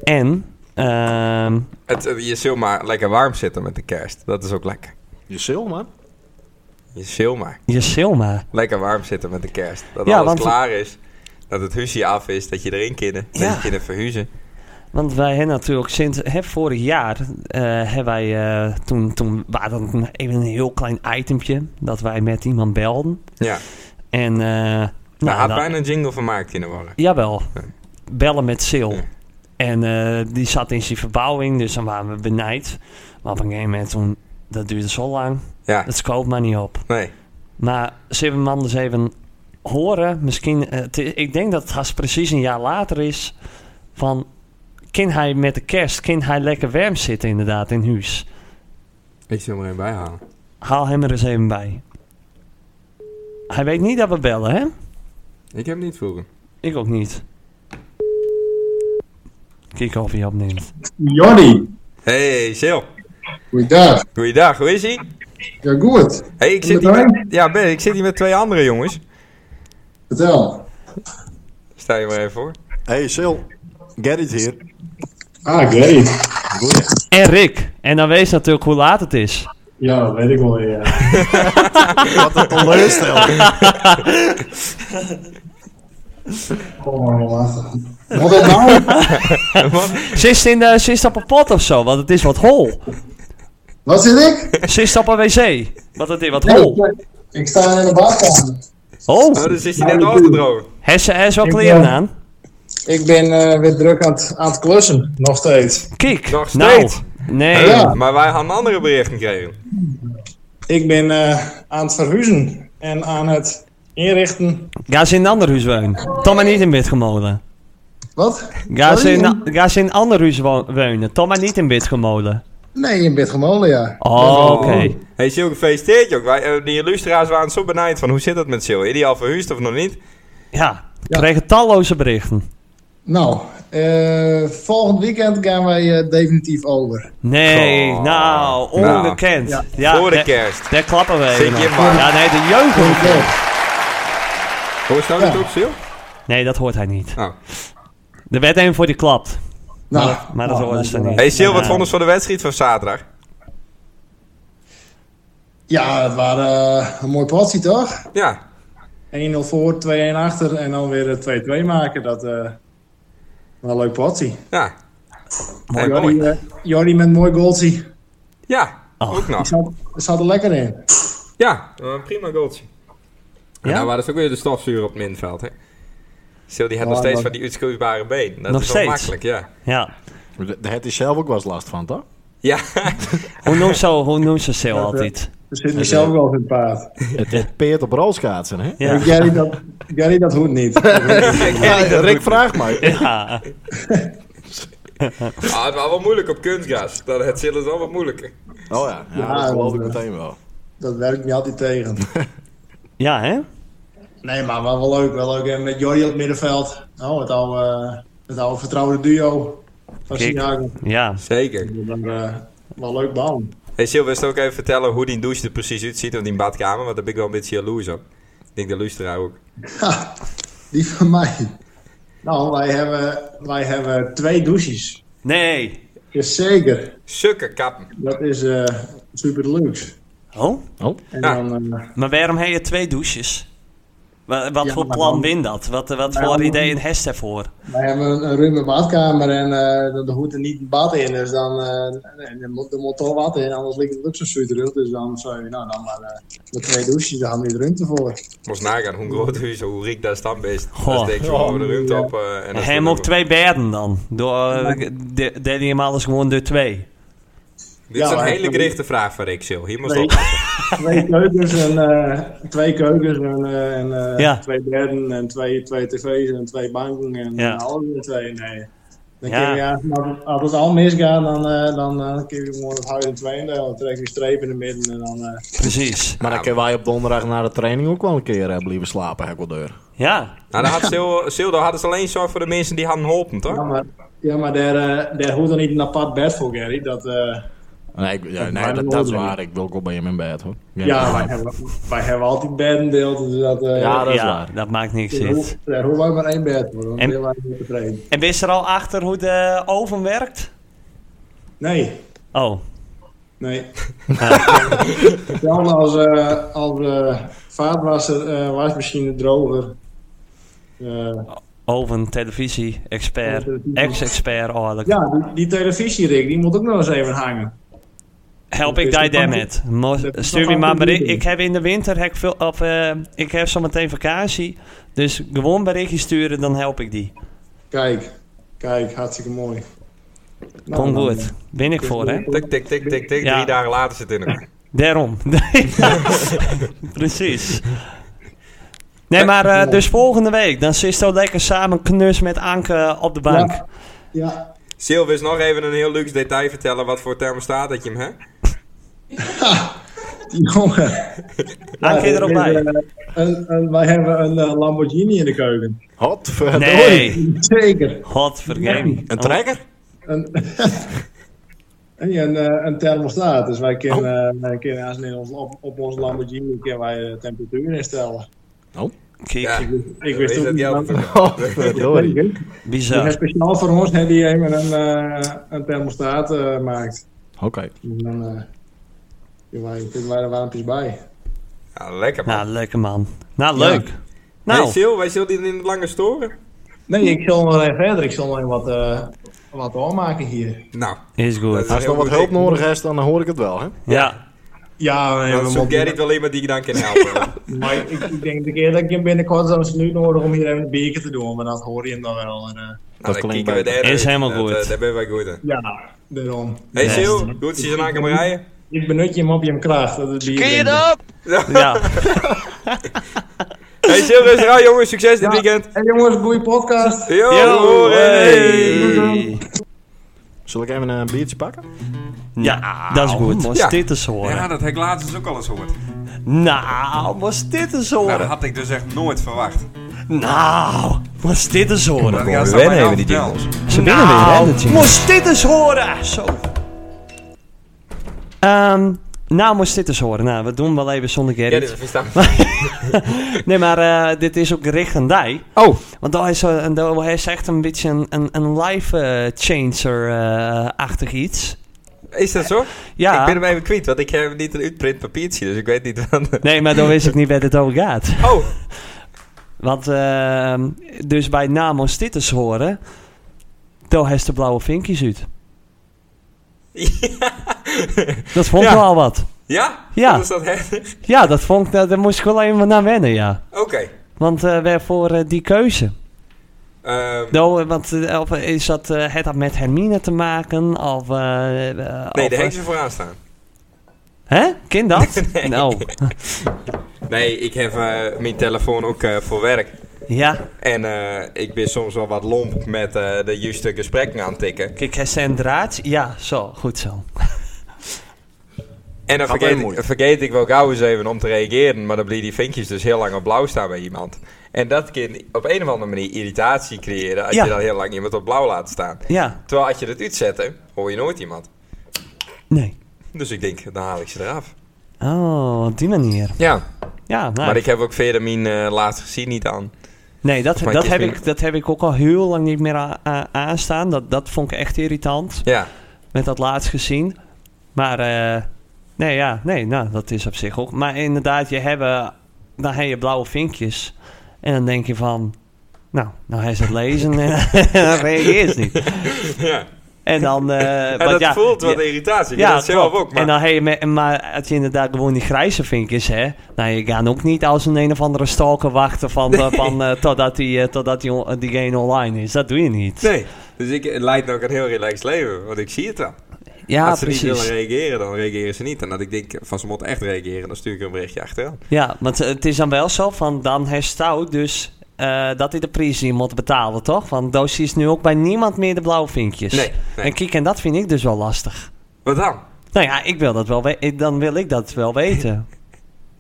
S2: en... ehm,
S1: Het, eh, je zil maar lekker warm zitten met de kerst. Dat is ook lekker.
S3: Je zil, man.
S1: Je zil maar
S2: je Silma.
S1: lekker warm zitten met de kerst. Dat
S2: Ja,
S1: alles
S2: want-
S1: klaar is. Dat het husje af is. Dat je erin kunnen. Dat
S2: Ja.
S1: je kunnen verhuizen.
S2: Want wij hebben natuurlijk sinds hè, vorig jaar, eh, hebben wij, eh, toen, toen waren dat een- even een heel klein itempje, dat wij met iemand belden.
S1: Ja.
S2: En, eh,
S1: Daar had
S2: dan-
S1: bijna een jingle van gemaakt in de warm.
S2: Jawel,
S1: Ja.
S2: bellen met Sil.
S1: Ja.
S2: En eh, die zat in zijn verbouwing, dus dan waren we benijd. Maar op een gegeven moment, toen, dat duurde zo lang,
S1: Ja.
S2: dat scoot maar niet op.
S1: Nee.
S2: Maar zullen we hem anders even horen? Misschien, eh, het is- ik denk dat het haast precies een jaar later is. Van, kan hij met de kerst, kan hij lekker warm zitten inderdaad in huis?
S1: Ik zul hem er een bij halen.
S2: Haal hem er eens even bij. Hij weet niet dat we bellen, hè?
S1: Ik heb hem niet vroeger.
S2: Ik ook niet. Kijk of hij opneemt.
S5: Jordi,
S1: Hey, Sil.
S5: goeiedag.
S1: Goeiedag. Hoe is ie?
S5: Ja, goed.
S1: Hey, ik zit, hier met, ja, ben, ik zit hier met twee andere jongens.
S5: Vertel.
S1: Sta je maar even voor.
S3: Hey, Sil. Gerrit hier.
S5: Ah, great.
S3: Goeie.
S2: En Rick. En dan weet je natuurlijk hoe laat het is.
S5: Ja, dat weet ik wel weer. ja.
S3: Wat een teleurstelling.
S5: Kom maar, jongen. Wat dat nou?
S2: Zit in de, zit op een pot of zo, want het is wat hol.
S5: Wat zit ik?
S2: Zit op een wc, want het is wat
S5: Nee,
S2: hol.
S5: ik- ik sta in de badkamer.
S2: Oh,
S1: Oh, dus is hij net afgedroogd.
S2: heeft ze heeft ze wel
S5: Ik,
S2: kleren
S5: eh,
S2: aan?
S5: Ik ben eh, weer druk aan het, aan het klussen, nog steeds.
S2: Kijk,
S1: Nog
S2: nou,
S1: steeds?
S2: nee,
S5: Ja.
S1: Maar wij hadden andere berichten gekregen.
S5: Ik ben eh, aan het verhuizen en aan het inrichten.
S2: ga ze in een ander huis wonen. Tom maar niet in bed gemolen.
S5: Wat?
S2: Ga ze in,
S5: Sorry?
S2: ga ze in een ander huis wo- wonen. Tom maar niet in bed gemolen.
S5: Nee, in bent gemolen, ja.
S2: Oh, oké.
S1: Hey Sil, gefeliciteerd joh. Wij, eh, die luisteraars waren zo benijd van hoe zit dat met Sil? Is die al verhuisd of nog niet?
S2: Ja, we kregen talloze berichten.
S5: Nou, eh, volgend weekend gaan wij eh, definitief over.
S2: Nee,
S1: Goh.
S2: nou,
S1: Nou.
S2: ongekend.
S5: Ja.
S2: Ja,
S1: Voor de
S2: daar-
S1: kerst.
S2: Daar klappen we
S1: Zit
S2: even
S1: je
S2: op.
S1: maar.
S2: Ja, nee, de
S5: Goed,
S2: jeugd.
S5: leuk.
S1: Hoe staat het op Sil?
S2: Nee, dat hoort hij niet.
S1: Oh.
S2: Er werd één voor die klapt.
S5: Nou,
S2: Maar Oh, dat
S5: nou,
S2: horen ze dan
S5: nou,
S2: niet.
S1: Hey Sil, wat
S2: Ja.
S1: vonden ze van de wedstrijd van zaterdag?
S5: Ja, het waren eh, een mooi potje, toch?
S1: Ja,
S5: 1-0 voor, 2-1 achter en dan weer eh, 2-2 maken. Dat eh wel een leuk potje.
S1: ja. Hey,
S5: Jordi,
S1: mooi.
S5: eh, Jordi met een mooi goaltje.
S1: Ja,
S2: Oh.
S1: ook nog.
S5: Zat, zat er lekker in.
S1: Ja, een Eh, prima goaltje.
S2: Ja?
S1: En daar waren ze ook weer de stofzuur op het minveld, hè? Sil die had
S5: Ja,
S1: nog steeds
S5: dat-
S1: van die uitschuifbare been. Dat
S2: Nog
S1: is wel
S2: steeds?
S1: makkelijk, ja.
S2: Ja.
S3: Daar had hij zelf ook wel eens last van, toch?
S1: Ja,
S2: Hoe noemt ze, hoe noemt ze Sil altijd?
S5: Dus zit mezelf wel in het paard.
S3: Het, het peert op rolschaatsen, hè?
S2: Ja.
S5: Gary, dat, Gary, dat hoeft niet.
S3: Ja, Rick vraagt mij.
S2: Ja.
S1: Ah, het was wel moeilijk op kunstgas. Dat, het zit is wel wat moeilijker.
S3: Oh ja, ja,
S5: Ja,
S3: dat geloof ik
S5: dat, eh,
S3: meteen wel.
S5: dat werkt niet altijd tegen.
S2: ja, hè?
S5: Nee, maar wel, wel leuk. Wel leuk. En met Jordi op het middenveld. Nou, het oude, eh, het oude vertrouwde duo. Van
S2: Kijk.
S5: Chicago.
S2: Ja.
S1: Zeker.
S5: Dan, eh, wel leuk bal.
S1: Hey Sil, wist ook even vertellen hoe die douche er precies uitziet op die badkamer? Want daar ben ik wel een beetje jaloers op. Ik denk de luisteraar ook.
S5: Ha, die van mij. Nou, wij hebben, wij hebben twee douches.
S2: Nee.
S5: Jazeker.
S1: Sukker kappen.
S5: Dat is eh, super deluxe.
S2: Oh?
S5: En
S1: Ja.
S5: dan, eh,
S2: Maar waarom heb je twee douches? Wa- Wat,
S5: Ja,
S2: voor
S5: maar
S2: plan
S5: dan-
S2: win dat? Wat, wat
S5: Ja,
S2: voor
S5: dan-
S2: idee een hest ervoor?
S5: wij hebben een, een ruime badkamer en eh er hoeft er niet een bad in. Dus dan eh, en er moet er moet toch wat in, anders ligt het ook zo zuur terug. Dus dan zou je, nou dan maar eh, met twee douches, daar hebben we ruimte voor.
S1: Moest nagaan hoe groot huis, hoe rijk dat stand is.
S2: Goh.
S1: Dat denk je gewoon de ruimte op. eh, en
S2: En
S1: dat is
S2: hem
S1: dan
S2: ook twee bedden dan. Door, eh, de- Deed hij hem alles gewoon door twee.
S1: Dit is
S5: Ja,
S1: een
S5: maar-
S1: hele gerichte vraag van Rick Sil. Hier moest
S5: Nee.
S1: op.
S5: Twee keukens en, eh, twee, keukens en, eh, en eh,
S2: Ja.
S5: twee bedden en twee, twee tv's en twee banken en
S2: Ja.
S5: alles in twee. Nee. Dan
S2: Ja.
S5: kun je, ja, maar als het al misgaat, dan, eh, dan, eh, dan kun je gewoon het huis in tweeën delen. Dan trek je een streep in het midden en dan... eh,
S2: Precies.
S3: Maar dan kunnen wij op donderdag na de training ook wel een keer eh, blijven slapen, heb ik wel deur.
S2: Ja,
S1: Nou, daar had Sil- Sildo hadden ze alleen zorg voor de mensen die hadden geholpen, toch?
S5: ja, maar, ja, maar daar, eh, daar hoeft dan niet een apart bed voor, Gary. Dat, eh,
S3: Nee, ik- ja, nee
S5: Maar
S3: dat,
S5: dat
S3: dat is
S5: hoort
S3: waar. Ik wil ook wel bij hem in bed, hoor.
S5: ja, wij, hebben, wij hebben altijd beddendeelten, dus dat... eh,
S3: Ja, dat is
S2: ja,
S3: waar.
S2: dat maakt niks
S5: daar
S2: uit.
S5: hoeft- Daar hoeven wij maar één bed voor, want
S2: En-
S5: en... wij niet tevreden.
S2: En wist er al achter hoe de oven werkt?
S5: Nee,
S2: Oh,
S5: nee. Hetzelfde als, eh, als eh, vaatwasser, eh, wasmachine, droger. Eh,
S2: oven, televisie, expert, ex-expert, oh, dat-
S5: ja, die, die televisierik, die moet ook nog eens even hangen.
S2: Help
S5: dat
S2: ik
S5: is
S2: die
S5: toch
S2: damn
S5: amper-
S2: it. Mo-
S5: dat is
S2: Stuur
S5: toch
S2: me maar
S5: amper
S2: bericht.
S5: duurder?
S2: Ik heb in de winter heb ik veel, of, eh, ik heb zometeen vakantie. Dus gewoon berichtje sturen, dan help ik die.
S5: Kijk, kijk, hartstikke mooi. Nou,
S2: Kom
S5: dan,
S2: goed. Ben ik
S5: dus
S2: voor,
S5: dan-
S2: hè?
S1: Tik, tik, tik, tik, tik.
S2: Ja.
S1: Drie dagen later zit het in elkaar.
S2: Daarom. Precies. Nee, maar eh, dus volgende week, dan zit zo lekker samen knus met Anke op de bank.
S5: Ja. Ja,
S1: Sil wist nog even een heel luxe detail vertellen wat voor thermostaat dat je hem hebt.
S5: die jongen.
S2: Anke
S5: Ja,
S2: erop
S5: dit is,
S2: bij.
S5: eh, een- een- wij hebben een eh, Lamborghini in de keuken.
S3: Godverdorie.
S2: Nee,
S5: Zeker.
S2: godvergame.
S3: Een trekker?
S5: Een, en ja, een, eh, een thermostaat. Dus wij kunnen, eh, wij kunnen als in ons, op, op onze Lamborghini kunnen wij de temperatuur instellen.
S2: Kijk,
S1: Ja,
S5: Ik wist
S1: Is
S5: ook
S1: dat
S5: niet.
S1: jouw
S5: dat-
S3: Godverdorie.
S5: Dus hij
S2: bizar.
S5: speciaal voor ons heeft hij even een, eh, een thermostaat eh, gemaakt.
S3: Oké.
S5: En dan eh, kunnen wij- kunnen wij er warmpjes bij.
S1: Ja, Ah, lekker man.
S2: Nou, lekker man. Nou, leuk.
S1: hey
S2: Nou,
S1: Sil, wij zullen die niet langer storen.
S5: Nee, ik zal nog even verder. Ik zal nog even wat, eh wat aanmaken hier.
S1: Nou,
S2: is goed.
S1: Dat
S3: Als er nog wat hulp nodig is, dan hoor ik het wel, hè?
S2: Ja,
S5: Ja, nee,
S1: dan zoekt Gerrit wel iemand die je dan kan helpen. Nou,
S5: maar ik, ik denk de keer dat ik hem binnenkort zo'n snoet nodig om hier even een biertje te doen. Maar dat hoor je hem dan wel. En, eh,
S1: Nou,
S3: Dat
S1: dan
S3: klinkt
S1: kieken we
S3: beter.
S1: daar
S2: Is
S1: uit.
S2: helemaal
S1: Dat,
S2: goed.
S1: eh, daar ben wij goed in.
S5: ja, daarom.
S1: Hey
S2: Best.
S1: Sil, goed, ze zijn aan het breien.
S5: Ik benut je hem op je kracht. Dat is bier
S4: Kun je
S5: drinken.
S4: dat?
S2: ja.
S1: Hey Sil, rustig aan jongens, succes dit weekend.
S5: Hey jongens, goede podcast.
S1: Yo,
S2: Yo,
S1: Oh, hey.
S2: hey.
S3: Zal ik even een biertje pakken?
S2: Ja, dat is goed. Was
S1: Ja.
S2: dit eens horen?
S1: Nou, Ja, dat heb ik laatst dus ook al eens gehoord.
S2: Nou, was dit eens
S1: Nou, dat
S2: horen?
S1: had ik dus echt nooit verwacht.
S2: Nou, was dit eens horen?
S1: Dat gaat
S6: we
S1: ze aan mij
S6: wennen
S1: al
S6: even die
S1: vertellen.
S6: Ze winnen weer, hè,
S2: Nou,
S6: de jingles.
S2: moest dit eens horen! Zo. Ehm, nou, moest dit eens horen. Nou, we doen wel even zonder
S1: Ja, dit
S2: Gerrit.
S1: is verstaan.
S2: Nee, maar eh, dit is ook gericht aan die.
S6: Oh,
S2: Want daar is, eh, en daar- hij is echt een beetje een, een, een eh, life-changer-achtig eh, iets.
S1: Is dat zo?
S2: Ja,
S1: Ik ben hem even kwijt, want ik heb niet een uitprint papiertje, dus ik weet niet wat...
S2: nee, maar dan wist ik niet waar dit over gaat.
S1: Oh,
S2: Want ehm, dus bij Namos dit eens horen, daar heeft de blauwe vinkjes uit. Dat vond ik
S1: Ja.
S2: wel wat.
S1: ja?
S2: Ja.
S1: Dat is dat heftig.
S2: Ja, dat vond ik, daar daar moest ik wel even naar wennen, ja.
S1: Oké.
S2: Want eh waarvoor eh, die keuze?
S1: Ehm,
S2: Nou, eh, want eh, of, eh, is dat, eh, het had met Hermine te maken? Of, eh, eh,
S1: nee,
S2: of,
S1: daar
S2: eh,
S1: heeft ze vooraan staan.
S2: Hè? Kind dat?
S1: Nee.
S2: Nou,
S1: Nee, ik heb eh, mijn telefoon ook eh, voor werk.
S2: ja.
S1: En eh, ik ben soms wel wat lomp met eh, de juiste gesprekken aan het tikken.
S2: Kijk, hij zijn draad. Ja, zo, goed zo.
S1: En dan
S3: Gaat
S1: vergeet
S3: heel
S1: ik,
S3: moeilijk.
S1: vergeet ik wel gauw eens even om te reageren. Maar dan blijven die vinkjes dus heel lang op blauw staan bij iemand. En dat kan op een of andere manier irritatie creëren als
S2: Ja.
S1: je dan heel lang iemand op blauw laat staan.
S2: Ja,
S1: Terwijl als je dat uitzet, hoor je nooit iemand.
S2: nee.
S1: Dus ik denk, dan haal ik ze eraf.
S2: Oh, op die manier.
S1: Ja,
S2: Ja, nou,
S1: maar ik heb ook verder mijn eh, laatste gezien niet aan.
S2: Nee, dat,
S1: mij
S2: dat,
S1: is
S2: heb
S1: niet-
S2: ik, dat heb ik ook al heel lang niet meer a- a- aanstaan. Dat, dat vond ik echt irritant,
S1: Ja,
S2: met dat laatst gezien. Maar eh, nee, ja, nee, nou, dat is op zich ook. Maar inderdaad, je hebben, dan heb je blauwe vinkjes. En dan denk je van, nou, nou hij is het lezen en dan reageert ze niet.
S1: ja.
S2: En dan... eh,
S1: En
S2: want
S1: dat
S2: ja,
S1: voelt wat
S2: ja,
S1: irritatie. Ik
S2: ja,
S1: ja, dat zelf
S2: klopt.
S1: ook. Maar
S2: En dan heb je, me- maar als je inderdaad gewoon die grijze vinkjes, hè. Nou, je gaat ook niet als een een of andere stalker wachten van, eh, van, eh, totdat, die, eh, totdat die, on- diegene online is. Dat doe je niet.
S1: Nee, dus ik het leidt ook een heel relaxed leven, want ik zie het dan.
S2: Ja,
S1: als ze niet willen
S2: precies.
S1: reageren, dan reageren ze niet. En dat ik denk, van ze moeten echt reageren, dan stuur ik er een berichtje achteraan.
S2: Ja, want eh, het is dan wel zo van, dan herstout dus eh, dat hij de prijs niet moet betalen, toch? Want Doosie is nu ook bij niemand meer de blauwe vinkjes.
S1: Nee, nee.
S2: En kijk, en dat vind ik dus wel lastig.
S1: Wat dan?
S2: Nou ja, ik wil dat wel we- ik- dan wil ik dat wel weten.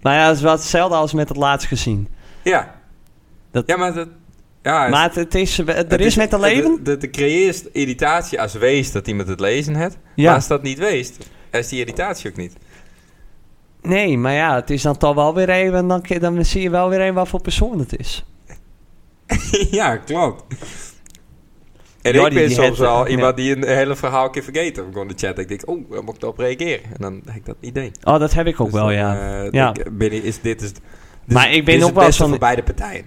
S2: maar ja, het is wel hetzelfde als met het laatst gezien.
S1: Ja.
S2: Dat-
S1: Ja, maar dat... Ja, het-
S2: Maar het, het is, eh, er
S1: het
S2: is met de leven.
S1: De, de creëert irritatie als wees dat iemand het lezen heeft.
S2: Ja.
S1: Maar als dat niet weest, is die irritatie ook niet.
S2: Nee, maar ja, het is dan toch wel weer even. Dan, ke- dan zie je wel weer even wat voor persoon het is.
S1: ja, klopt. En
S2: Jordi,
S1: ik ben
S2: die
S1: soms
S2: had-
S1: wel
S2: ja.
S1: iemand die een hele verhaal een keer vergeet. Dan kom ik de chat en ik denk, oh, dan moet ik erop reageren. En dan heb ik dat idee.
S2: Oh, dat heb ik
S1: Dus
S2: ook wel,
S1: eh,
S2: ja. Ja.
S1: Ik ben, is, dit is, dit
S2: Maar
S1: is-
S2: ik ben
S1: dit is
S2: ook
S1: het
S2: wel
S1: beste
S2: zo'n-
S1: voor beide partijen.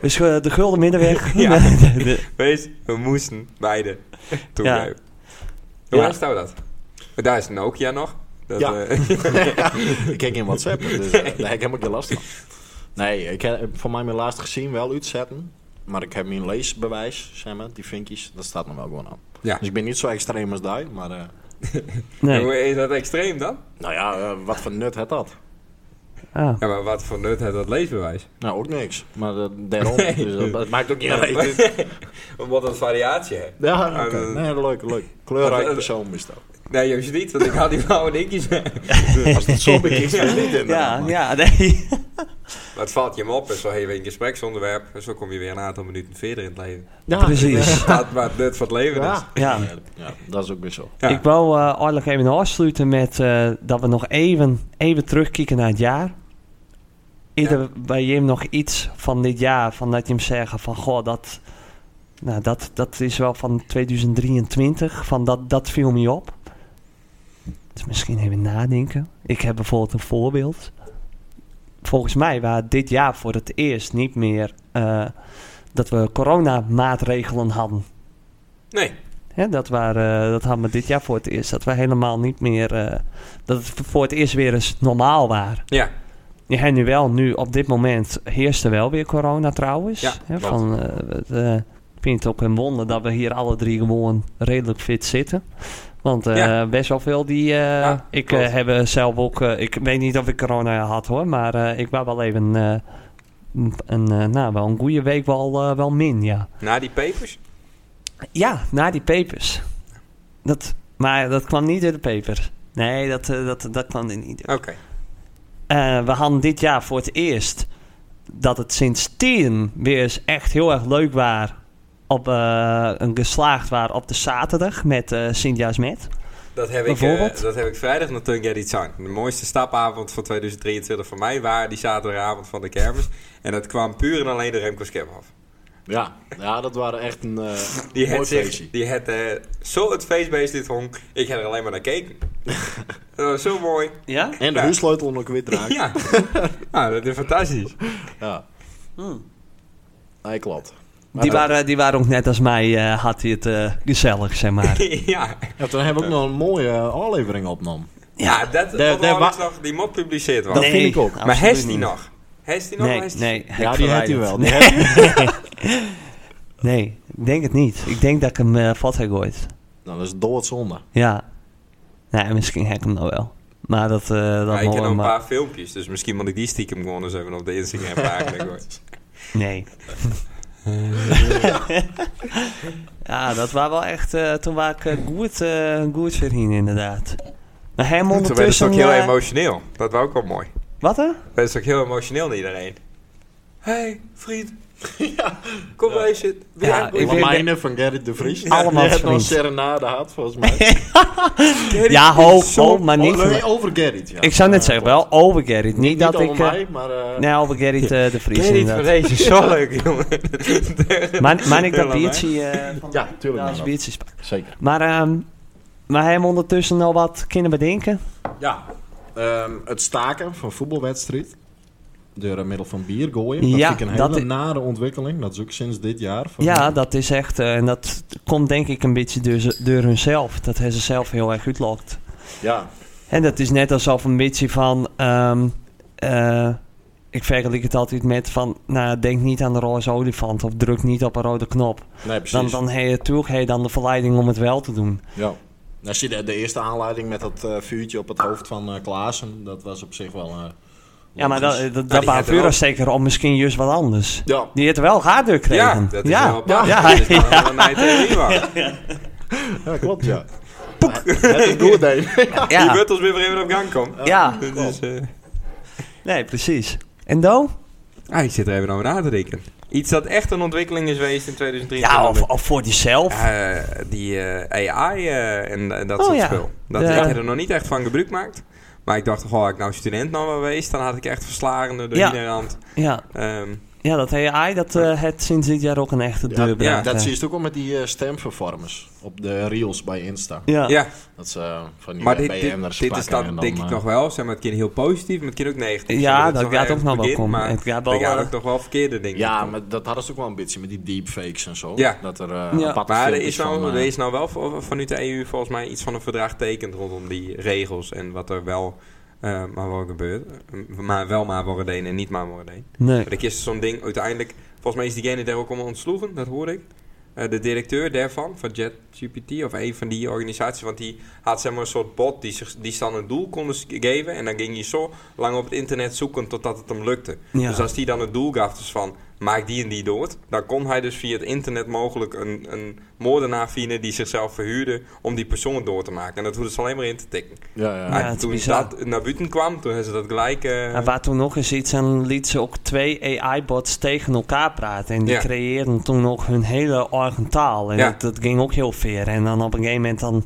S2: Dus eh, de gulden middenweg.
S1: Ja.
S2: De-
S1: Wees, we moesten beide toegeven. Hoe
S2: Ja.
S1: ja. staan we dat? Maar Daar is Nokia nog. Dat,
S3: Ja.
S1: eh,
S3: ik kijk in WhatsApp, dus eh, daar heb ik helemaal geen last van. Nee, ik heb van mij mijn laatste gezien wel uitzetten. Maar ik heb mijn leesbewijs, zeg maar, die vinkjes, dat staat nog wel gewoon aan.
S1: Ja.
S3: Dus ik ben niet zo extreem als die, maar eh,
S2: nee.
S1: Hoe is dat extreem dan?
S3: nou ja, eh, wat voor nut had dat?
S2: Ah.
S1: Ja, maar wat voor nut heeft dat leesbewijs?
S3: Nou, ook niks. Maar eh, daarom,
S1: Nee.
S3: dus dat, dat maakt ook niet uit.
S1: Omdat het variatie heeft.
S3: Ja, oké.
S1: Ah, dat-
S3: nee, leuk, leuk. Kleurrijk
S1: Dat-
S3: persoon is dat.
S1: Nee, juist niet, want ik had die blauwe dingetjes.
S3: Als het zo bekijkt, is het niet inderdaad,
S2: Ja,
S3: maar-
S2: ja, nee.
S1: Wat valt je hem op? En zo heb je een gespreksonderwerp. En zo kom je weer een aantal minuten verder in het leven.
S3: Ja,
S2: Precies.
S1: Dat waar het nut van het leven is.
S3: Ja.
S2: Ja.
S3: ja, dat is ook weer zo.
S1: Ja.
S2: Ik wou eh eigenlijk even afsluiten met eh, dat we nog even, even terugkijken naar het jaar. Ieder bij Jim nog iets van dit jaar, van dat je hem zeggen van goh, dat, nou, dat, dat is wel van 2023, van dat, dat viel me op. Dus misschien even nadenken. Ik heb bijvoorbeeld een voorbeeld. Volgens mij waren dit jaar voor het eerst niet meer eh, dat we coronamaatregelen hadden.
S1: Nee,
S2: Hè, dat, waren, dat hadden we dit jaar voor het eerst. Dat we helemaal niet meer. eh, dat het voor het eerst weer eens normaal was.
S1: ja.
S2: Je hebt nu wel, nu op dit moment heerst er wel weer corona trouwens.
S1: Ja,
S2: Hè,
S1: klopt.
S2: van, eh, het, eh, ik vind het ook een wonder dat we hier alle drie gewoon redelijk fit zitten. Want eh,
S1: Ja.
S2: best wel veel die. eh,
S1: Ja,
S2: ik
S1: klopt.
S2: eh, heb eh, zelf ook. eh, ik weet niet of ik corona had hoor, maar eh, ik was wel even. eh, een, een, eh, nou, wel een goede week wel, eh, wel min, ja.
S1: Na die papers?
S2: Ja, na die papers. Dat, maar dat kwam niet door de paper. Nee, dat, eh, dat, dat kwam er niet door.
S1: Oké.
S2: Eh, we hadden dit jaar voor het eerst dat het sinds tien weer eens echt heel erg leuk was. Op, eh, een geslaagd waren op de zaterdag met eh Sint-Jaas met.
S1: Dat heb, ik,
S2: Bijvoorbeeld?
S1: eh, dat heb ik vrijdag naar Tung Get It Sound. De mooiste stapavond van 2023 voor mij waren die zaterdagavond van de kermis. En dat kwam puur en alleen de Remco Skemhoff.
S3: Ja, ja, dat waren echt een eh
S1: Die
S3: mooi
S1: had, zich,
S3: feestje.
S1: die had eh, zo het feestbeest dit honk. Ik heb er alleen maar naar gekeken. dat was zo mooi.
S2: Ja?
S3: En de
S1: Ja.
S3: huissleutel nog weer draaien. Ja.
S1: Ja. ja, dat is fantastisch.
S3: Nee, klopt. Maar
S2: Hmm. Die
S3: dat-
S2: waren, die waren ook net als mij, eh, had hij het eh, gezellig, zeg maar.
S1: ja.
S3: Ja, toen hebben we ook nog een mooie eh, aflevering opgenomen.
S1: ja, dat
S3: daar-
S1: dat
S3: daar
S1: was
S3: wa-
S1: nog die mop publiceerd was.
S3: Dat vind ik ook. Maar
S1: maar
S2: absoluut
S1: heeft die
S2: niet.
S3: nou.
S1: nog? Heeft die nog?
S2: Nee,
S1: Heeft die-
S2: nee.
S3: ja,
S2: ik
S3: Nou, die had hij
S2: verwijder
S3: wel.
S2: het.
S3: Die had hij-
S2: Nee, ik denk het niet. Ik denk dat ik hem eh vat heb gegooid.
S3: Nou, dat is doodzonde.
S2: Ja. Nee, misschien hek ik hem nou wel. Maar dat, eh
S1: Ja, ik
S2: dat
S1: heb nog
S2: horen
S1: een
S2: we-
S1: paar filmpjes, dus misschien moet ik die stiekem gewoon eens even op de Instagram pagina gooien.
S2: eh, Nee. ja, dat was wel echt... eh, toen was ik eh, goed, eh goed verhien, inderdaad. Maar hem
S1: Toen werd het
S2: ondertussen...
S1: ook heel
S2: eh,
S1: emotioneel. Dat was ook wel mooi.
S2: wat hè?
S1: Werd het ook heel emotioneel naar iedereen. hey, vriend. Kom bij je zitten.
S2: Ja,
S1: Ja,
S2: ik-
S1: ik...
S3: Lamijnen van Gerrit de Vries.
S2: Allemaal
S3: Die had nog een
S2: vriend.
S3: serenade had, volgens mij.
S2: Ja, ho, ho,
S1: zo-
S2: maar niet...
S3: Oh, nee, over Gerrit, ja.
S2: ik zou net
S3: Ja,
S2: zeggen,
S3: klopt.
S2: wel over Gerrit. Niet,
S3: Niet
S2: dat
S3: over
S2: ik... eh,
S3: mij, maar... eh,
S2: nee, over Gerrit eh, de Vries,
S1: Gerrit van
S2: inderdaad.
S1: deze zo leuk, jongen.
S2: Maar, maar ik dat
S1: Helemaal, hè?
S2: biertje... eh, van-
S3: Ja, tuurlijk.
S2: ja,
S3: maar
S2: als
S3: dat-
S2: biertjes pak.
S3: Zeker.
S2: Maar, ehm maar hem ondertussen al wat kunnen bedenken.
S3: Ja. Ehm, het staken van voetbalwedstrijd. Door eh, middel van bier gooien. Dat
S2: Ja,
S3: vind ik een
S2: dat
S3: hele
S2: i-
S3: nare ontwikkeling. Dat is ook sinds dit jaar. Van-
S2: Ja, dat is echt. eh, en dat komt denk ik een beetje door, ze- door hunzelf. Dat hebben ze zelf heel erg uitlokt.
S3: ja.
S2: En dat is net alsof een beetje van. ehm, eh, ik vergelijk het altijd met van. Nou, denk niet aan de roze olifant of druk niet op een rode knop.
S3: Nee,
S2: Dan,
S3: precies.
S2: dan heb je natuurlijk heb je dan de verleiding om het wel te doen.
S3: Ja. Als je de, de eerste aanleiding met dat eh, vuurtje op het hoofd van eh Klaassen, dat was op zich wel eh,
S2: Ja, maar dat, dat,
S1: die
S2: dat
S1: heeft
S2: baalt
S1: er wel-
S2: Pura zeker om misschien juist wat anders.
S3: Ja.
S2: Die heeft er wel harder gekregen.
S1: Ja, dat is
S2: ja.
S1: wel apart.
S2: Ja,
S1: Dat is wel
S2: ja.
S1: een eind en drie, waar.
S3: Ja, klopt, ja. Het is goed, hè.
S1: Die
S2: Ja.
S1: wordt ons weer even op gang komen.
S2: ja.
S1: Dat is, eh,
S2: Nee, precies. En Do?
S1: ah, ik zit er even over na te denken. Iets dat echt een ontwikkeling is geweest in 2023.
S2: Ja, of, of voor jezelf.
S1: Eh, die eh, AI eh, en eh, dat
S2: Oh,
S1: soort
S2: ja.
S1: spul. Dat
S2: Ja.
S1: ik er nog niet echt van gebruik maakt. Maar ik dacht, goh, had ik nou student nou wel geweest, dan had ik echt verslagende door
S2: Ja.
S1: iedere hand.
S2: Ja,
S1: Ehm,
S2: ja dat AI, dat eh, het sinds dit jaar ook een echte
S3: Ja,
S2: deur
S1: ja,
S2: braakt,
S3: Dat
S2: eh.
S3: zie je ook wel met die eh, stemvervormers op de reels bij Insta.
S2: Ja.
S1: ja,
S3: Dat ze eh, van die
S1: maar dit,
S3: BN'ers
S1: dit, dit is
S3: pakken en
S1: dan denk
S3: eh,
S1: ik nog wel. Zeg maar, het kan heel positief, maar het kan ook negatief.
S2: Ja,
S1: zijn.
S2: dat
S1: is
S2: gaat ook
S1: ergens
S2: nog wel
S1: begin,
S2: komen.
S1: Maar
S2: Het gaat wel,
S1: er gaan
S2: eh,
S1: ook nog wel verkeerde dingen.
S3: Ja,
S1: komen.
S3: maar dat hadden ze ook wel een beetje met die deepfakes en zo.
S1: Ja.
S3: Dat er eh
S2: Ja.
S3: aparte
S1: Maar er
S3: filmpjes
S1: is, nou,
S3: van, eh,
S1: er is nou wel v- vanuit de EU volgens mij iets van een verdrag tekend rondom die regels. En wat er wel eh, maar wel gebeurt. Maar wel maar worden deen en niet maar worden deen.
S2: Nee.
S1: Maar ik is zo'n ding uiteindelijk. Volgens mij is diegene daar ook om ontsloegen, dat hoor ik. Eh, de directeur daarvan, van JetGPT, of een van die organisaties. Want die had zeg maar een soort bot die, zich, die ze dan een doel konden s- geven. En dan ging je zo lang op het internet zoeken totdat het hem lukte.
S2: Ja.
S1: Dus als die dan het doel gaf, dus van maak die en die dood. Dan kon hij dus via het internet mogelijk een, een moordenaar vinden die zichzelf verhuurde om die persoon dood te maken. En dat hoefde ze alleen maar in te tikken.
S3: Ja, ja.
S1: Maar
S2: het is
S1: toen
S2: bizar.
S1: dat naar buiten kwam, toen hebben ze dat gelijk. eh,
S2: En waar toen nog eens iets en liet ze ook twee AI-bots tegen elkaar praten. En die
S1: Ja.
S2: creëerden toen nog hun hele eigen taal. En
S1: Ja.
S2: dat, dat ging ook heel ver. En dan op een gegeven moment dan...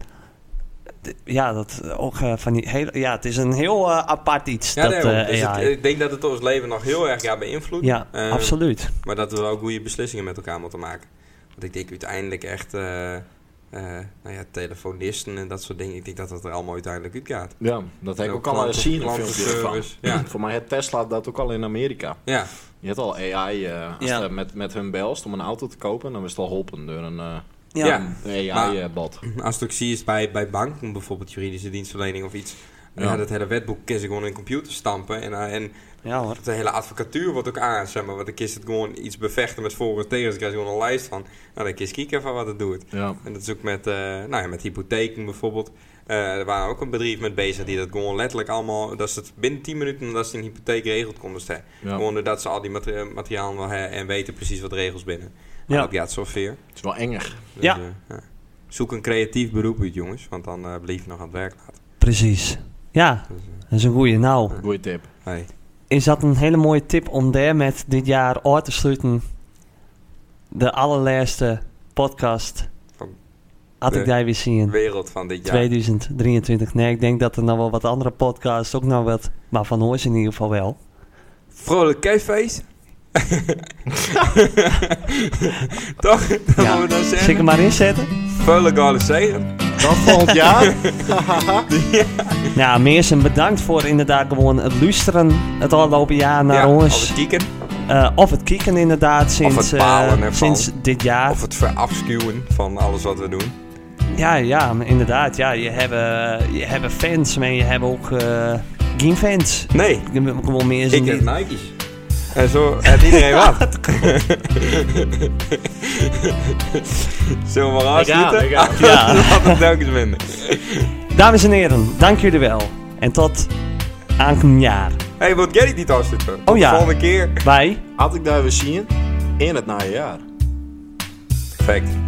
S2: Ja, dat ook eh, van die hele... Ja, het is een heel eh, apart iets,
S1: Ja,
S2: dat
S1: daarom.
S2: eh,
S1: Dus het-
S2: AI.
S1: ik denk dat het ons leven nog heel erg gaat beïnvloeden.
S2: ja,
S1: Eh,
S2: absoluut.
S1: Maar dat we wel goede beslissingen met elkaar moeten maken. Want ik denk uiteindelijk echt, eh, eh, nou ja, telefonisten en dat soort dingen. Ik denk dat dat er allemaal uiteindelijk uitgaat.
S3: Ja, dat heb ik
S1: Ook
S3: ook al
S1: klanten-
S3: gezien in
S1: klantenservice,
S3: filmpjes ervan.
S1: ja.
S3: Voor mij heeft Tesla dat ook al in Amerika.
S1: Ja,
S3: Je hebt al AI eh, als
S2: Ja.
S3: de- met, met hun belst om een auto te kopen. Dan is het al holpen door een eh,
S2: Ja.
S1: ja. Maar-
S3: AI-bot.
S1: als het ook zie is bij, bij banken bijvoorbeeld, juridische dienstverlening of iets. Ja.
S3: Ja.
S1: dat hele wetboek kan ze gewoon in een computer stampen. En, eh, en
S2: Ja hoor.
S1: de hele advocatuur wordt ook aan, zeg maar. Want dan kist het gewoon iets bevechten met voor en tegen. Dus dan krijg je gewoon een lijst van. Nou, dan kist kieken van wat het doet.
S3: Ja.
S1: En dat is ook met, eh nou ja, met hypotheken bijvoorbeeld. Eh, er waren ook een bedrijf met bezig die dat gewoon letterlijk allemaal... Dat ze het binnen 10 minuten nadat ze een hypotheek geregeld konden stellen.
S3: Ja.
S1: Gewoon doordat ze al die mater- materialen wel hebben en weten precies wat regels binnen.
S2: Ja.
S1: Ja. Dat gaat zo ver.
S3: Het is wel enger.
S1: Dus,
S2: Ja.
S1: eh, ja. Zoek een creatief beroep uit, jongens. Want dan eh blijf je nog aan het werk laten.
S2: Precies. Ja, dat is een goeie. Nou,
S3: Goeie tip.
S1: Hey.
S2: is dat een hele mooie tip om daar met dit jaar uit te sluiten. De allerlaatste podcast.
S1: Van
S2: Had
S1: de
S2: ik daar weer zien.
S1: Wereld van dit jaar.
S2: 2023. Nee, ik denk dat er nog wel wat andere podcasts ook nog wat. Maar van Hoors in ieder geval wel.
S1: Vrolijk kerstfeest. Toch? Dat
S2: Ja. Nou,
S1: moeten we dan
S2: Zit ik
S1: zeggen.
S2: hem maar inzetten?
S1: Vrolijk alle zegen.
S3: Dat volgend jaar?
S2: Nou, Meersen, bedankt voor inderdaad gewoon het luisteren het afgelopen jaar naar
S1: Ja, al
S2: ons.
S1: het kieken.
S2: Eh, of het kieken inderdaad sinds,
S1: het
S2: eh,
S1: balen ervan.
S2: sinds dit jaar.
S1: Of het verafschuwen van alles wat we doen.
S2: Ja, ja, maar inderdaad. Ja, je hebt, eh, je hebt fans, maar je hebt ook eh, geen fans.
S1: Nee,
S2: Ik heb gewoon meer
S1: ik
S2: zin
S1: heb
S2: in.
S1: Nike's. En zo heeft iedereen wat. Zullen we maar afsluiten?
S3: Lekker,
S2: Ja.
S1: Laat het telkens minder.
S2: Dames en heren, dank jullie wel. En tot aankomend jaar.
S1: hey, wat get ik niet afsluiten? Tot
S2: Oh ja.
S1: De volgende keer.
S2: Wij.
S3: Had ik daar weer zien in het najaar.
S1: Perfect.